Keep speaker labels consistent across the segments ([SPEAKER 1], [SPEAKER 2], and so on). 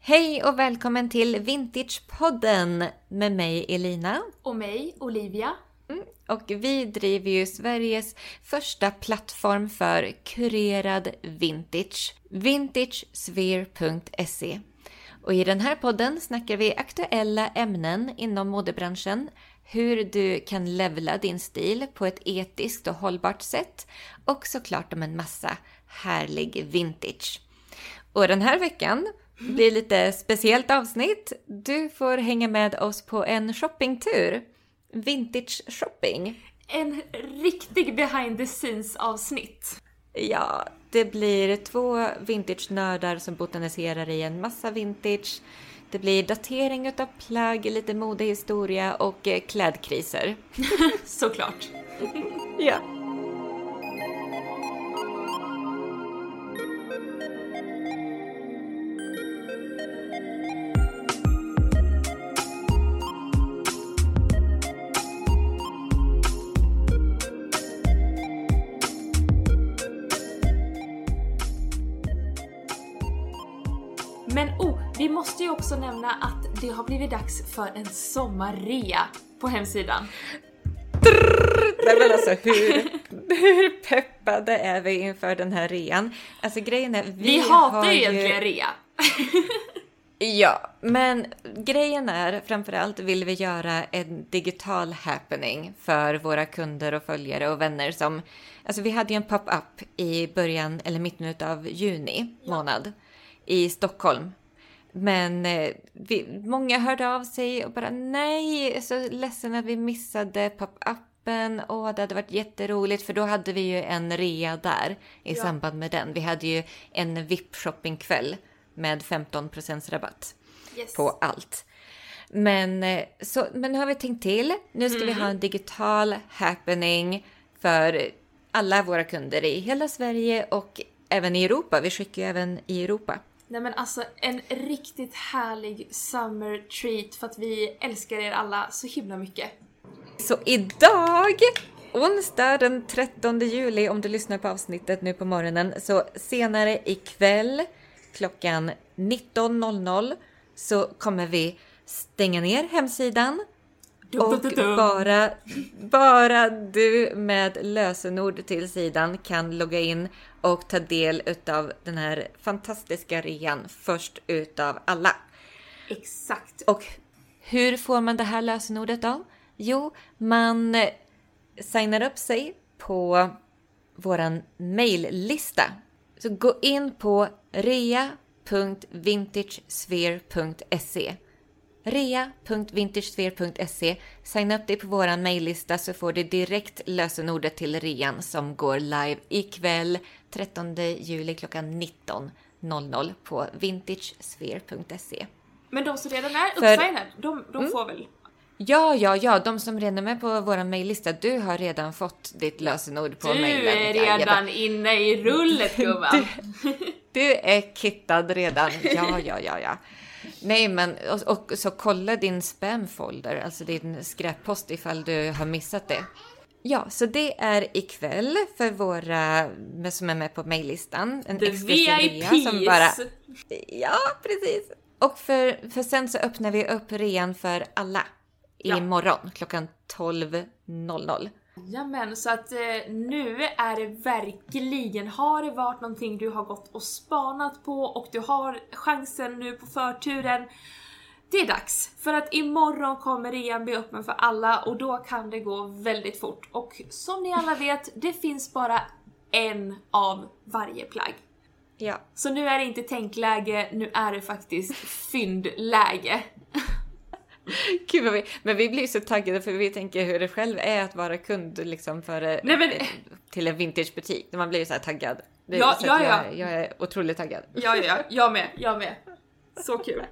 [SPEAKER 1] Hej och välkommen till Vintagepodden med mig Elina.
[SPEAKER 2] Och mig, Olivia.
[SPEAKER 1] Och vi driver ju Sveriges första plattform för kurerad vintage. Vintagesphere.se. Och i den här podden snackar vi aktuella ämnen inom modebranschen, hur du kan levla din stil på ett etiskt och hållbart sätt och såklart om en massa härlig vintage. Och den här veckan blir lite speciellt avsnitt. Du får hänga med oss på en shoppingtur. Vintage shopping.
[SPEAKER 2] En riktig behind the scenes avsnitt.
[SPEAKER 1] Ja, det blir två vintage-nördar som botaniserar i en massa vintage. Det blir datering utav plagg, lite modehistoria och eh, klädkriser.
[SPEAKER 2] Såklart.
[SPEAKER 1] Ja.
[SPEAKER 2] Men oh, vi måste ju också nämna att det har blivit dags för en sommarrea på hemsidan.
[SPEAKER 1] Nej men alltså hur, hur peppade är vi inför den här rean? Alltså grejen är... Vi,
[SPEAKER 2] Vi, hatar
[SPEAKER 1] har
[SPEAKER 2] ju egentligen rea.
[SPEAKER 1] Ja, men grejen är framförallt vill vi göra en digital happening för våra kunder och följare och vänner som... Alltså vi hade ju en pop-up i början eller mitten av juni månad i Stockholm. Men eh, vi, många hörde av sig och bara nej, jag är så ledsen att vi missade pop-upen. Åh, det hade varit jätteroligt för då hade vi ju en rea där i
[SPEAKER 2] Ja.
[SPEAKER 1] samband med den. Vi hade ju en VIP-shoppingkväll med 15 rabatt
[SPEAKER 2] Yes.
[SPEAKER 1] på allt. Men, eh, så, men nu har vi tänkt till. Nu ska vi ha en digital happening för alla våra kunder i hela Sverige och även i Europa. Vi skickar ju även i Europa.
[SPEAKER 2] Nej men alltså en riktigt härlig summer treat för att vi älskar er alla så himla mycket.
[SPEAKER 1] Så idag, onsdag den 13 juli, om du lyssnar på avsnittet nu på morgonen, så senare ikväll klockan 19.00 så kommer vi stänga ner hemsidan Och
[SPEAKER 2] Dum-dum-dum-dum.
[SPEAKER 1] bara, bara du med lösenord till sidan kan logga in och ta del utav den här fantastiska rean först utav alla.
[SPEAKER 2] Exakt.
[SPEAKER 1] Och hur får man det här lösenordet då? Jo, man eh, signar upp sig på våran maillista. Så gå in på rea.vintagesphere.se rea.vintagesphere.se Signa upp dig på våran maillista så får du direkt lösenordet till rean som går live ikväll 13 juli klockan 19.00 på vintagesphere.se.
[SPEAKER 2] Men de som redan är
[SPEAKER 1] För-
[SPEAKER 2] uppsignade, de, de får väl?
[SPEAKER 1] Ja, ja, ja, de som redan är med på vår mejllista, du har redan fått ditt lösenord på
[SPEAKER 2] Du
[SPEAKER 1] mejlen.
[SPEAKER 2] är
[SPEAKER 1] Jajamän.
[SPEAKER 2] redan inne i rullet gumman.
[SPEAKER 1] Du är kittad redan. Ja, ja, ja, ja. Nej, men och, och så kolla din spamfolder, alltså din skräppost ifall du har missat det. Ja, så det är ikväll för våra med- som är med på mejllistan. En
[SPEAKER 2] The
[SPEAKER 1] exklusiv rea
[SPEAKER 2] VIPs!
[SPEAKER 1] som bara Ja, precis. Och för, för sen så öppnar vi upp rean för alla
[SPEAKER 2] Ja.
[SPEAKER 1] imorgon klockan 12.00.
[SPEAKER 2] Jamen, så att eh, nu är det verkligen, har det varit någonting du har gått och spanat på och du har chansen nu på förturen. Det är dags! För att imorgon kommer rean bli öppen för alla och då kan det gå väldigt fort. Och som ni alla vet, det finns bara en av varje plagg.
[SPEAKER 1] Ja.
[SPEAKER 2] Så nu är det inte tänkläge, nu är det faktiskt fyndläge.
[SPEAKER 1] Gud vad vi, men vi blir så taggade för vi tänker hur det själv är att vara kund liksom för,
[SPEAKER 2] Nej, men-
[SPEAKER 1] till en vintagebutik. När man blir så här taggad. Det-
[SPEAKER 2] Ja,
[SPEAKER 1] så att
[SPEAKER 2] ja, ja.
[SPEAKER 1] Jag, jag är otroligt taggad.
[SPEAKER 2] Ja, ja, jag med, jag med. Så kul.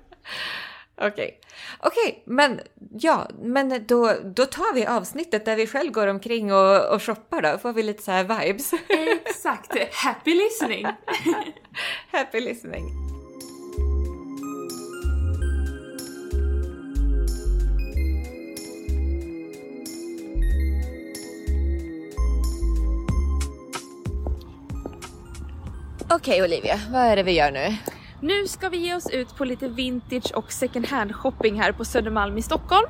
[SPEAKER 1] Okej, okej, men ja, men då, då tar vi avsnittet där vi själv går omkring och, och shoppar då. Får vi lite så här vibes.
[SPEAKER 2] Exakt, happy listening!
[SPEAKER 1] Happy listening! Okej Olivia, vad är det vi gör nu?
[SPEAKER 2] Nu ska vi ge oss ut på lite vintage och second hand shopping här på Södermalm i Stockholm.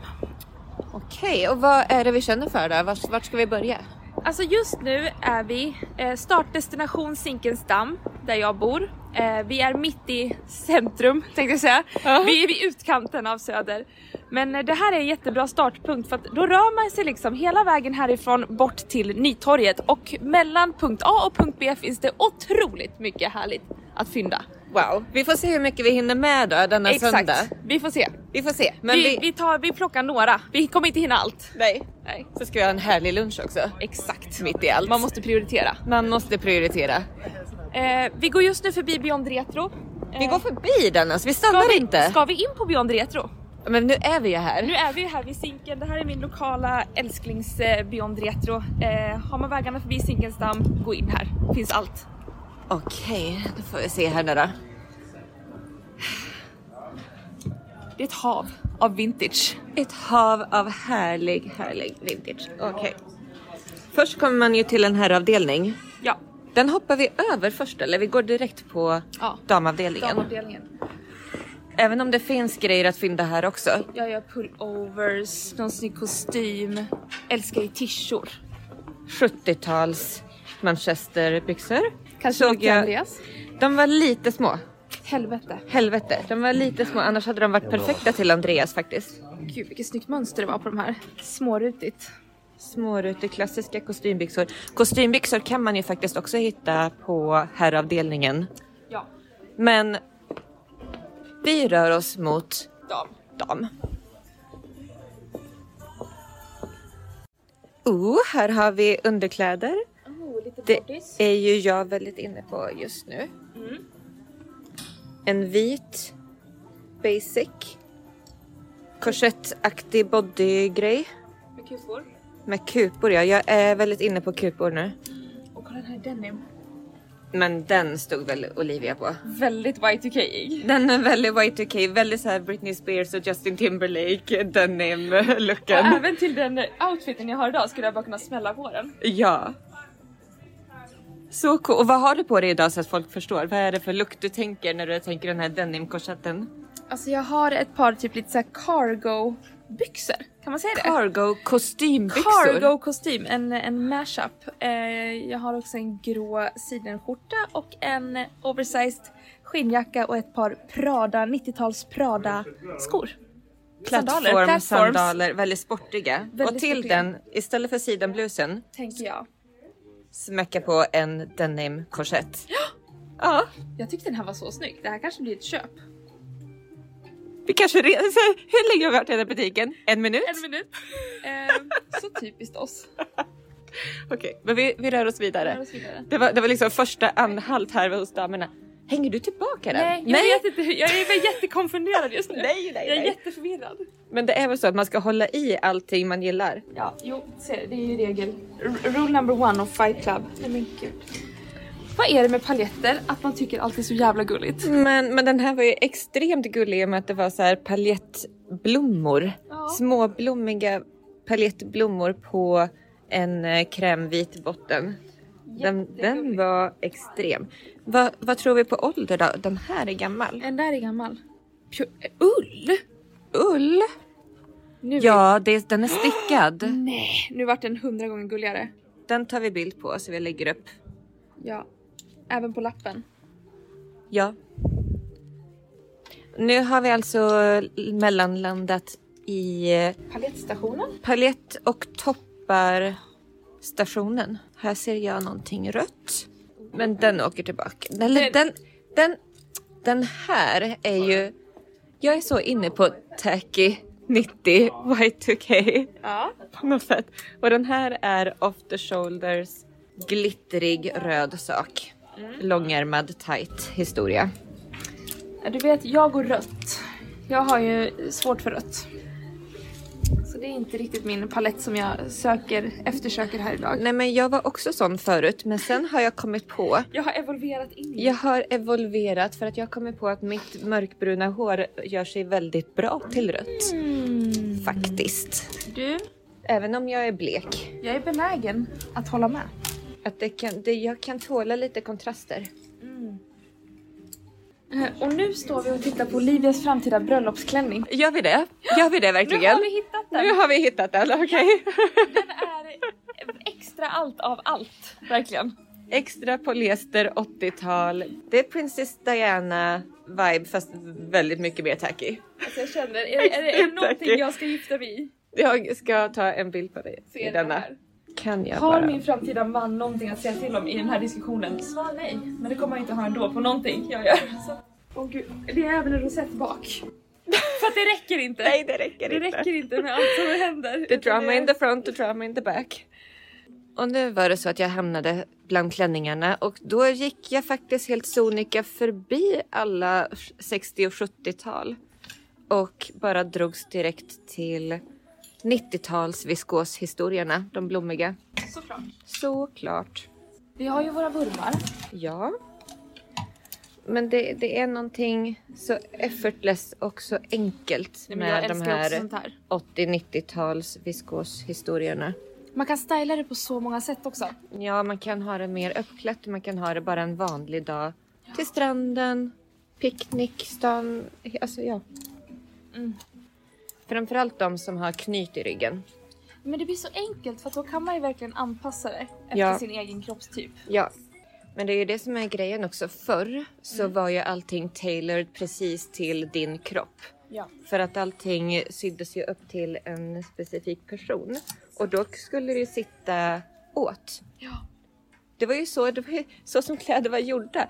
[SPEAKER 1] Okej, och vad är det vi känner för då? Vart, vart ska vi börja?
[SPEAKER 2] Alltså just nu är vi eh, startdestination Zinkensdamm där jag bor. Eh, vi är mitt i centrum tänkte jag säga.
[SPEAKER 1] Ja.
[SPEAKER 2] Vi är vid utkanten av Söder. Men eh, det här är en jättebra startpunkt för att då rör man sig liksom hela vägen härifrån bort till Nytorget och mellan punkt A och punkt B finns det otroligt mycket härligt att fynda.
[SPEAKER 1] Wow, vi får se hur mycket vi hinner med då denna
[SPEAKER 2] Exakt,
[SPEAKER 1] söndag.
[SPEAKER 2] vi får se.
[SPEAKER 1] Vi får se. Men
[SPEAKER 2] vi,
[SPEAKER 1] vi,
[SPEAKER 2] vi... tar, vi plockar några, vi kommer inte hinna allt.
[SPEAKER 1] Nej.
[SPEAKER 2] Nej.
[SPEAKER 1] Så ska vi ha en härlig lunch också.
[SPEAKER 2] Exakt.
[SPEAKER 1] Mitt i allt.
[SPEAKER 2] Man måste prioritera.
[SPEAKER 1] Man måste prioritera.
[SPEAKER 2] Eh, vi går just nu förbi Beyond Retro.
[SPEAKER 1] Vi
[SPEAKER 2] Eh,
[SPEAKER 1] går förbi den alltså, vi
[SPEAKER 2] ska
[SPEAKER 1] stannar
[SPEAKER 2] vi,
[SPEAKER 1] inte.
[SPEAKER 2] Ska vi in på Beyond Retro?
[SPEAKER 1] Men nu är vi ju här.
[SPEAKER 2] Nu är vi ju här vid Zinken. Det här är min lokala älsklings eh, Beyond Retro. Eh, har man vägarna förbi Zinkensdamm, gå in här. Finns allt.
[SPEAKER 1] Okej, då får vi se här nu då.
[SPEAKER 2] Det är ett hav av vintage.
[SPEAKER 1] Ett hav av härlig, härlig vintage. Okej. Först kommer man ju till en herravdelning.
[SPEAKER 2] Ja,
[SPEAKER 1] Den hoppar vi över först eller? Vi går direkt på
[SPEAKER 2] Ja.
[SPEAKER 1] damavdelningen.
[SPEAKER 2] damavdelningen.
[SPEAKER 1] Även om det finns grejer att fynda här också.
[SPEAKER 2] Jag gör pullovers, någon snygg kostym. Älskar ju tishor.
[SPEAKER 1] 70-tals manchesterbyxor.
[SPEAKER 2] Kanske
[SPEAKER 1] Såg
[SPEAKER 2] lite
[SPEAKER 1] jag-
[SPEAKER 2] Andreas?
[SPEAKER 1] De var lite små.
[SPEAKER 2] Helvete.
[SPEAKER 1] Helvete, de var lite små. Annars hade de varit perfekta till Andreas faktiskt.
[SPEAKER 2] Gud vilket snyggt mönster det var på de här. Smårutigt.
[SPEAKER 1] Smårutor, klassiska kostymbyxor. Kostymbyxor kan man ju faktiskt också hitta på herravdelningen.
[SPEAKER 2] Ja,
[SPEAKER 1] Men vi rör oss mot
[SPEAKER 2] dam.
[SPEAKER 1] dam. Oh, här har vi underkläder.
[SPEAKER 2] Oh, lite
[SPEAKER 1] Det är ju jag väldigt inne på just nu. En vit basic korsettaktig bodygrej
[SPEAKER 2] Med kufor.
[SPEAKER 1] med kupor. Ja. Jag är väldigt inne på kupor nu.
[SPEAKER 2] Och kolla den här denim.
[SPEAKER 1] Men den stod väl Olivia på.
[SPEAKER 2] Väldigt Y2K-ig.
[SPEAKER 1] Den är väldigt Y2K, väldigt så här Britney Spears och Justin Timberlake denim
[SPEAKER 2] Och
[SPEAKER 1] looken.
[SPEAKER 2] även till den outfiten jag har idag skulle jag bara kunna smälla på den.
[SPEAKER 1] Ja. Så cool. Och vad har du på dig idag så att folk förstår? Vad är det för look du tänker när du tänker den här denimkorsetten?
[SPEAKER 2] Alltså jag har ett par typ lite såhär cargo byxor. Kan man säga det?
[SPEAKER 1] Cargo kostymbyxor.
[SPEAKER 2] Cargo kostym, en, en mashup. Eh, jag har också en grå sidenskjorta och en oversized skinnjacka och ett par Prada, 90-tals Prada skor. Sandaler.
[SPEAKER 1] Plattform,
[SPEAKER 2] Platforms,
[SPEAKER 1] sandaler, väldigt sportiga.
[SPEAKER 2] Väldigt
[SPEAKER 1] och till
[SPEAKER 2] sportiga.
[SPEAKER 1] den, istället för sidenblusen,
[SPEAKER 2] tänker jag.
[SPEAKER 1] smäcka på en denimkorsett. Ja,
[SPEAKER 2] Jag tyckte den här var så snygg. Det här kanske blir ett köp.
[SPEAKER 1] vi kanske redan... så här, Hur länge har vi varit i den här butiken? En minut?
[SPEAKER 2] En minut. Eh, så typiskt oss.
[SPEAKER 1] Okej, men vi, vi rör oss vidare.
[SPEAKER 2] Rör oss vidare.
[SPEAKER 1] Det var, det var liksom första anhalt här hos damerna. Hänger du tillbaka den?
[SPEAKER 2] Nej, jag vet inte. hur- Jag är väl jättekonfunderad just nu.
[SPEAKER 1] Nej, nej,
[SPEAKER 2] jag är
[SPEAKER 1] nej.
[SPEAKER 2] jätteförvirrad.
[SPEAKER 1] Men det är väl så att man ska hålla i allting man gillar.
[SPEAKER 2] Ja, jo, se, det är ju regel. R- rule number one of fight club. Nej men gud. Vad är det med paljetter? Att man tycker allt är så jävla gulligt.
[SPEAKER 1] Men, men den här var ju extremt gullig i och med att det var så här paljettblommor.
[SPEAKER 2] Ja.
[SPEAKER 1] Små blommiga paljettblommor på en eh, krämvit botten. Den, den
[SPEAKER 2] Jättegullig.
[SPEAKER 1] var extrem. Vad- vad tror vi på ålder då? Den här är gammal.
[SPEAKER 2] Den där är gammal. Pju- eh, ull?
[SPEAKER 1] Ull?
[SPEAKER 2] Nu
[SPEAKER 1] Ja, det, den är stickad.
[SPEAKER 2] Nej, nu vart den hundra gånger gulligare.
[SPEAKER 1] Den tar vi bild på så vi lägger upp.
[SPEAKER 2] Ja. Även på lappen.
[SPEAKER 1] Ja. Nu har vi alltså mellanlandat i eh,
[SPEAKER 2] Paljettstationen?
[SPEAKER 1] palett och toppar stationen. Här ser jag någonting rött. Men den åker tillbaka. Eller
[SPEAKER 2] Den-
[SPEAKER 1] den, den, den här är ju... Jag är så inne på tacky 90 Y2K
[SPEAKER 2] Ja.
[SPEAKER 1] på något sätt. Och den här är off the shoulders glittrig röd sak. Långärmad tight historia.
[SPEAKER 2] Du vet, jag går rött. Jag har ju svårt för rött. Så det är inte riktigt min palett som jag söker, eftersöker här idag.
[SPEAKER 1] Nej men jag var också sån förut men sen har jag kommit på
[SPEAKER 2] Jag har evolverat in i
[SPEAKER 1] jag har evolverat för att jag har kommit på att mitt mörkbruna hår gör sig väldigt bra till rött. Faktiskt.
[SPEAKER 2] Mm. Du,
[SPEAKER 1] Även om jag är blek.
[SPEAKER 2] jag är benägen att hålla med.
[SPEAKER 1] Att det kan, det, jag kan tåla lite kontraster.
[SPEAKER 2] Eh, Och nu står vi och tittar på Olivias framtida bröllopsklänning.
[SPEAKER 1] Gör vi det? Gör vi det
[SPEAKER 2] Nu har
[SPEAKER 1] verkligen?
[SPEAKER 2] vi hittat
[SPEAKER 1] Nu
[SPEAKER 2] den!
[SPEAKER 1] har vi hittat den, okej?
[SPEAKER 2] Den är extra allt av allt, verkligen.
[SPEAKER 1] Extra polyester 80-tal. Det är Princess Diana vibe fast väldigt mycket mer tacky.
[SPEAKER 2] Alltså jag känner, är, är, det- är det någonting jag ska gifta mig i
[SPEAKER 1] Jag ska ta en bild på dig
[SPEAKER 2] så
[SPEAKER 1] i
[SPEAKER 2] är det den
[SPEAKER 1] denna.
[SPEAKER 2] här.
[SPEAKER 1] Kan jag
[SPEAKER 2] Har
[SPEAKER 1] bara?
[SPEAKER 2] min framtida man någonting att säga till om i den här diskussionen? Svar nej. Men det kommer han inte ha ändå på någonting jag gör. Så. Åh gud, det är även en rosett bak. För att det räcker inte.
[SPEAKER 1] Nej det räcker
[SPEAKER 2] det
[SPEAKER 1] inte.
[SPEAKER 2] räcker inte med allt som händer.
[SPEAKER 1] The
[SPEAKER 2] Utan
[SPEAKER 1] drama
[SPEAKER 2] det-
[SPEAKER 1] in the front, the drama in the back. Och nu var det så att jag hamnade bland klänningarna och då gick jag faktiskt helt sonika förbi alla 60 och 70-tal och bara drogs direkt till 90-tals viskoshistorierna, de blommiga.
[SPEAKER 2] Såklart.
[SPEAKER 1] Såklart.
[SPEAKER 2] Vi har ju våra vurmar.
[SPEAKER 1] Ja. Men det, det är någonting så effortless och så enkelt
[SPEAKER 3] Nej, men jag
[SPEAKER 1] med de
[SPEAKER 3] älskar också
[SPEAKER 1] här
[SPEAKER 3] sånt här.
[SPEAKER 1] 80-90-tals viskoshistorierna.
[SPEAKER 2] Man kan styla det på så många sätt också.
[SPEAKER 1] Ja, man kan ha det mer uppklätt. Man kan ha det bara en vanlig dag. Till stranden, picknick, stan. Alltså ja.
[SPEAKER 2] Mm.
[SPEAKER 1] Framförallt de som har knyt i ryggen.
[SPEAKER 2] Men det blir så enkelt för att då kan man ju verkligen anpassa det efter
[SPEAKER 1] Ja.
[SPEAKER 2] sin egen kroppstyp.
[SPEAKER 1] Ja. Men det är ju det som är grejen också. Förr så
[SPEAKER 3] Mm.
[SPEAKER 1] var ju allting tailored precis till din kropp.
[SPEAKER 2] Ja.
[SPEAKER 1] För att allting syddes ju upp till en specifik person. Och då skulle det ju sitta åt.
[SPEAKER 2] Ja.
[SPEAKER 1] Det var ju så, det var ju så som kläder var gjorda.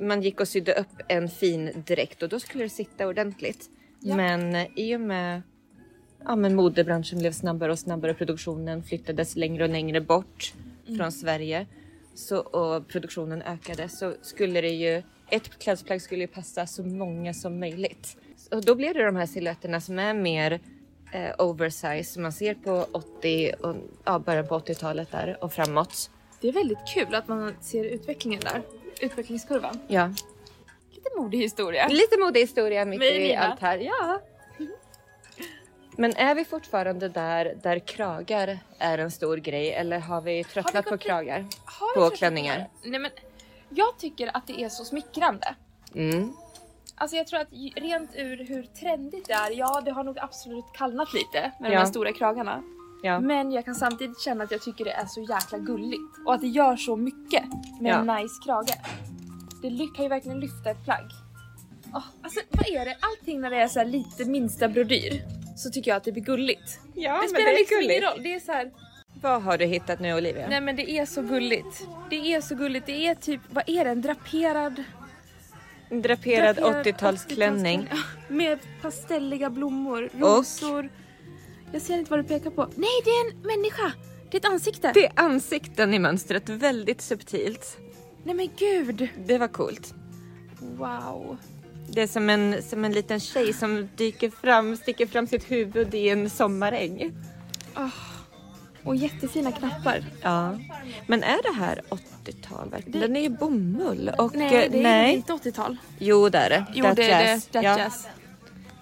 [SPEAKER 1] Man gick och sydde upp en fin dräkt och då skulle det sitta ordentligt.
[SPEAKER 2] Ja.
[SPEAKER 1] Men eh, i och med ja, men modebranschen blev snabbare och snabbare och produktionen flyttades längre och längre bort från Sverige så, och produktionen ökade så skulle det ju ett klädesplagg skulle ju passa så många som möjligt. Och då blev det de här silhuetterna som är mer eh, oversize som man ser på 80 och ja, början på 80-talet där och framåt.
[SPEAKER 2] Det är väldigt kul att man ser utvecklingen där. Utvecklingskurvan.
[SPEAKER 1] Ja,
[SPEAKER 2] Lite modig historia.
[SPEAKER 1] Lite modehistoria mitt
[SPEAKER 2] Med
[SPEAKER 1] i
[SPEAKER 2] Elina.
[SPEAKER 1] allt här. Ja. Men är vi fortfarande där, där kragar är en stor grej eller har vi tröttnat
[SPEAKER 2] Har vi
[SPEAKER 1] på
[SPEAKER 2] gått
[SPEAKER 1] kragar?
[SPEAKER 2] Har
[SPEAKER 1] På
[SPEAKER 2] vi träffat
[SPEAKER 1] klänningar.
[SPEAKER 2] några? Nej men, jag tycker att det är så smickrande.
[SPEAKER 1] Mm.
[SPEAKER 2] Alltså jag tror att ju- rent ur hur trendigt det är, ja det har nog absolut kallnat lite med de
[SPEAKER 1] Ja.
[SPEAKER 2] här stora kragarna.
[SPEAKER 1] Ja.
[SPEAKER 2] Men jag kan samtidigt känna att jag tycker det är så jäkla gulligt. Och att det gör så mycket med en nice krage. Det ly- kan ju verkligen lyfta ett plagg. Åh, alltså vad är det? Allting när det är så här lite minsta brodyr så tycker jag att det blir gulligt.
[SPEAKER 1] ja
[SPEAKER 2] det spelar liksom ingen roll. Det är så här,
[SPEAKER 1] Vad har du hittat nu Olivia?
[SPEAKER 2] nej men det är så gulligt. Det är så gulligt. Det är typ, vad är det? En draperad...
[SPEAKER 1] En draperad
[SPEAKER 2] draperad
[SPEAKER 1] 80-talsklänning.
[SPEAKER 2] 80-talsklänning. Med pastelliga blommor,
[SPEAKER 1] Och?
[SPEAKER 2] rosor. Jag ser inte vad du pekar på. Nej, det är en människa! Det är ett ansikte.
[SPEAKER 1] Det är ansikten i mönstret, väldigt subtilt.
[SPEAKER 2] Nej men gud!
[SPEAKER 1] Det var coolt.
[SPEAKER 2] Wow.
[SPEAKER 1] Det är som en, som en liten tjej som dyker fram, sticker fram sitt huvud i en sommaräng.
[SPEAKER 2] Och jättefina knappar.
[SPEAKER 1] Ja. Men är det här 80-tal verkligen? Den är ju bomull och...
[SPEAKER 2] Nej,
[SPEAKER 1] eh,
[SPEAKER 2] det är
[SPEAKER 1] nej.
[SPEAKER 2] inte 80-tal.
[SPEAKER 1] Jo det är det.
[SPEAKER 2] Jo,
[SPEAKER 1] That
[SPEAKER 2] det är det.
[SPEAKER 1] jazz.
[SPEAKER 2] That
[SPEAKER 1] Ja.
[SPEAKER 2] jazz.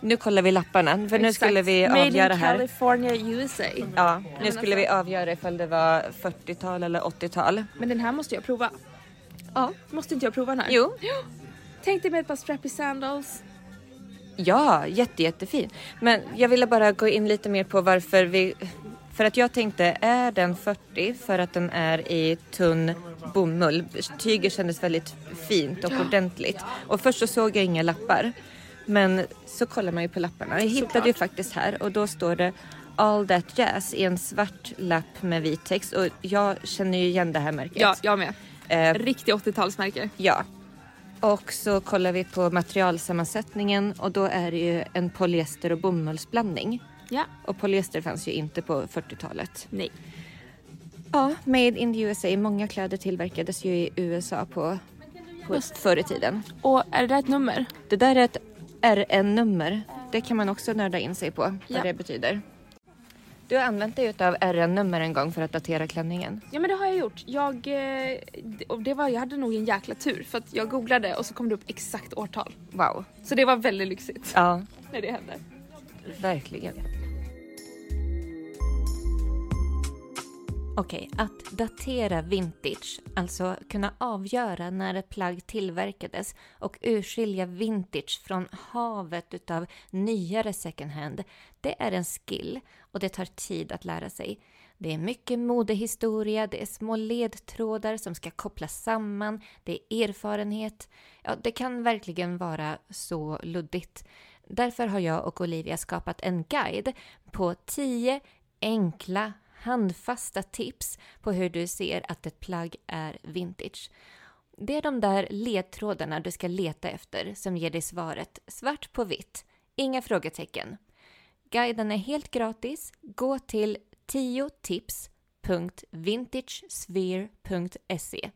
[SPEAKER 1] Nu kollar vi lapparna för nu
[SPEAKER 2] Exakt.
[SPEAKER 1] skulle vi
[SPEAKER 2] Made
[SPEAKER 1] avgöra
[SPEAKER 2] in
[SPEAKER 1] här.
[SPEAKER 2] California, USA.
[SPEAKER 1] Ja, nu
[SPEAKER 2] men
[SPEAKER 1] skulle vi avgöra ifall det var 40-tal eller 80-tal.
[SPEAKER 2] Men den här måste jag prova.
[SPEAKER 1] Ja.
[SPEAKER 2] Måste inte jag prova den här?
[SPEAKER 1] Jo.
[SPEAKER 2] Tänk dig med ett par strappy sandals.
[SPEAKER 1] Ja, jätte, jättefin. Men jag ville bara gå in lite mer på varför vi... För att jag tänkte, är den 40 för att den är i tunn bomull? Tyget kändes väldigt fint och ordentligt. Och först så såg jag inga lappar. Men så kollar man ju på lapparna. Jag hittade ju faktiskt här och då står det All That Jazz i en svart lapp med vit text. Och jag känner ju igen det här märket.
[SPEAKER 2] jag med.
[SPEAKER 1] Eh,
[SPEAKER 2] Riktigt 80-talsmärke.
[SPEAKER 1] Ja. Och så kollar vi på materialsammansättningen och då är det ju en polyester och bomullsblandning.
[SPEAKER 2] Ja.
[SPEAKER 1] Och polyester fanns ju inte på 40-talet.
[SPEAKER 2] Nej.
[SPEAKER 1] Ja, made in the USA. Många kläder tillverkades ju i USA på, på förr i tiden.
[SPEAKER 2] Och är det där ett nummer?
[SPEAKER 1] Det där är ett RN-nummer. Det kan man också nörda in sig på, vad
[SPEAKER 2] Ja.
[SPEAKER 1] det betyder. Du har använt dig av RN-nummer en gång för att datera klänningen.
[SPEAKER 2] Ja men det har jag gjort. Jag, eh, d- och det var, jag hade nog en jäkla tur för att jag googlade och så kom det upp exakt årtal.
[SPEAKER 1] Wow.
[SPEAKER 2] Så det var väldigt lyxigt
[SPEAKER 1] Ja,
[SPEAKER 2] när det hände.
[SPEAKER 1] verkligen. Okej, att datera vintage, alltså kunna avgöra när ett plagg tillverkades och urskilja vintage från havet utav nyare second hand, det är en skill och det tar tid att lära sig. Det är mycket modehistoria, det är små ledtrådar som ska kopplas samman, det är erfarenhet. Ja, det kan verkligen vara så luddigt. Därför har jag och Olivia skapat en guide på 10 enkla handfasta tips på hur du ser att ett plagg är vintage. Det är de där ledtrådarna du ska leta efter som ger dig svaret svart på vitt. Inga frågetecken. Guiden är helt gratis. Gå till 10tips.vintagesphere.se